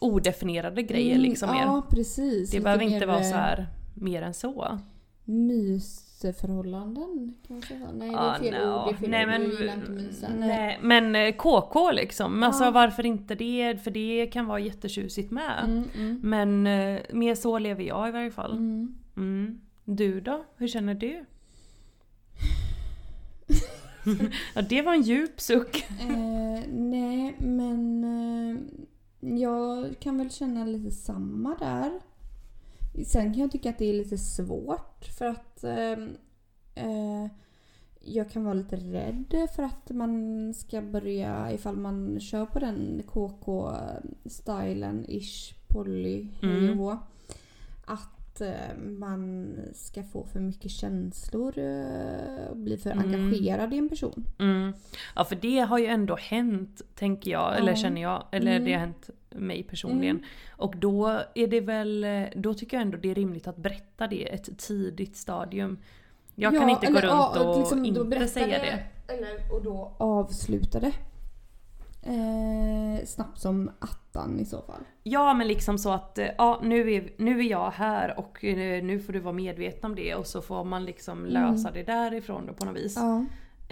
S2: Odefinierade grejer
S1: Mm,
S2: liksom mer.
S1: Ja, precis.
S2: Det
S1: Lite
S2: behöver inte
S1: mer,
S2: vara
S1: eh,
S2: så här mer än så.
S1: Mysförhållanden kanske? Nej, det är
S2: Ah,
S1: fel
S2: no.
S1: ord. Det är fel
S2: nej,
S1: ord.
S2: men,
S1: jag gillar inte mysa.
S2: nej, men eh, KK liksom. Alltså
S1: Ja.
S2: varför inte det? För det kan vara jättetjusigt med.
S1: Mm, mm,
S2: Men eh, mer så lever jag i varje fall.
S1: mm.
S2: Mm. Du då? Hur känner
S1: (laughs)
S2: du? ja, det var en djup suck.
S1: Eh, nej, men eh, jag kan väl känna lite samma där. Sen kan jag tycka att det är lite svårt för att eh, eh, jag kan vara lite rädd för att man ska börja, ifall man kör på den KK-stylen-ish, poly, hej och
S2: Mm.
S1: hå, att eh, man ska få för mycket känslor eh, och bli för engagerad i en person.
S2: Mm. Ja för det har ju ändå hänt tänker jag, eller
S1: Ja. Mm.
S2: känner jag. Eller det har hänt mig personligen. Och då är det väl, då tycker jag ändå det är rimligt att berätta det ett tidigt stadium. Jag kan
S1: Ja,
S2: inte
S1: eller,
S2: gå
S1: ja,
S2: runt och
S1: liksom, då
S2: inte
S1: berättar
S2: säga
S1: det.
S2: det.
S1: Eller, och då avsluta det. Eh, snabbt som attan i så fall.
S2: Ja men liksom så att eh, ja, nu, är, nu är jag här och eh, nu får du vara medveten om det och så får man liksom lösa det därifrån då på något vis.
S1: Mm. Ja.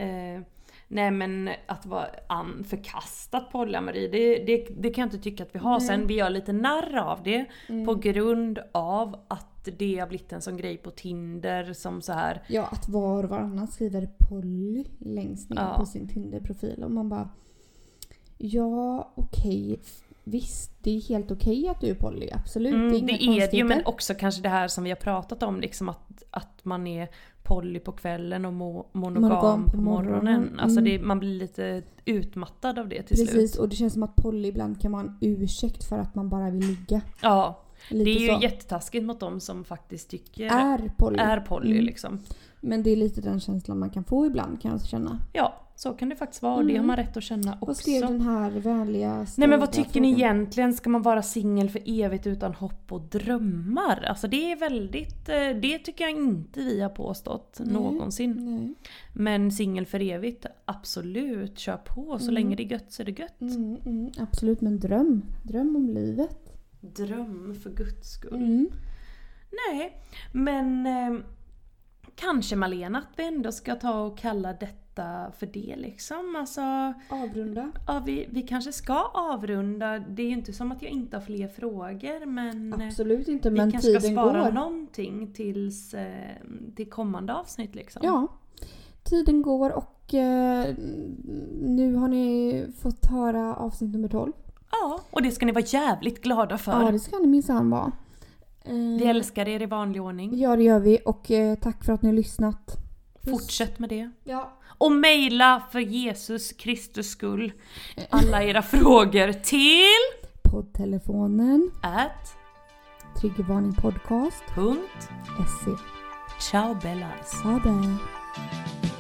S2: Eh, nej men att vara an, förkastat polyamory det, det, det kan jag inte tycka att vi har. Sen vi gör lite narr av det
S1: Mm.
S2: på grund av att det har blivit en sån grej på Tinder som så här
S1: ja, att var och varannan skriver poly längst ner
S2: Ja.
S1: på sin Tinder-profil och man bara Ja, okej. f- Visst, det är helt okej att du är poly. Absolut.
S2: Mm,
S1: det
S2: det
S1: är inga
S2: är det ju men
S1: konstigheter.
S2: också kanske det här som vi har pratat om liksom att, att man är poly på kvällen och mo, monogam,
S1: Monogam
S2: på morgonen.
S1: morgonen,
S2: Alltså
S1: mm.
S2: det, man blir lite utmattad av det till
S1: Precis,
S2: slut.
S1: och det känns som att poly ibland kan vara en ursäkt för att man bara vill ligga.
S2: Ja,
S1: Lite
S2: det är ju
S1: så.
S2: jättetaskigt mot de som faktiskt tycker är,
S1: Är poly.
S2: poly
S1: Mm.
S2: liksom.
S1: Men det är lite den känslan man kan få ibland kan jag känna.
S2: Ja, så kan det faktiskt vara och det har man rätt att känna
S1: Mm. Vad
S2: också.
S1: skrev den här vänliga
S2: Nej men
S1: ställda
S2: vad tycker ni
S1: frågan?
S2: egentligen? Ska man vara singel för evigt utan hopp och drömmar? Alltså det är väldigt, eh, det tycker jag inte vi har påstått någonsin.
S1: Nej.
S2: Men singel för evigt, absolut. Kör på. Så länge det är gött så är det gött.
S1: Mm, mm, absolut, men dröm. Dröm om livet.
S2: Dröm för guds skull.
S1: Mm.
S2: Nej, men eh, kanske Malena att vi ändå ska ta och kalla detta för det liksom. Alltså,
S1: Avrunda.
S2: ja, vi, vi kanske ska avrunda. Det är ju inte som att jag inte har fler frågor men eh,
S1: Absolut inte,
S2: vi
S1: men
S2: kanske
S1: tiden
S2: ska spara
S1: går.
S2: någonting tills, eh, till kommande avsnitt liksom.
S1: Ja. Tiden går och eh, nu har ni fått höra avsnitt nummer 12.
S2: ja, och det ska ni vara jävligt glada för.
S1: Ja, det ska ni minsann vara. Eh,
S2: Vi älskar er i vanlig ordning.
S1: Ja, det gör vi och eh, tack för att ni har lyssnat.
S2: Fortsätt med det.
S1: Ja.
S2: Och mejla för Jesus Kristus skull alla era frågor till
S1: Poddtelefonen,
S2: at
S1: Triggervarning podcast, E
S2: punkt
S1: SC. E.
S2: ciao bellas.
S1: Ha det!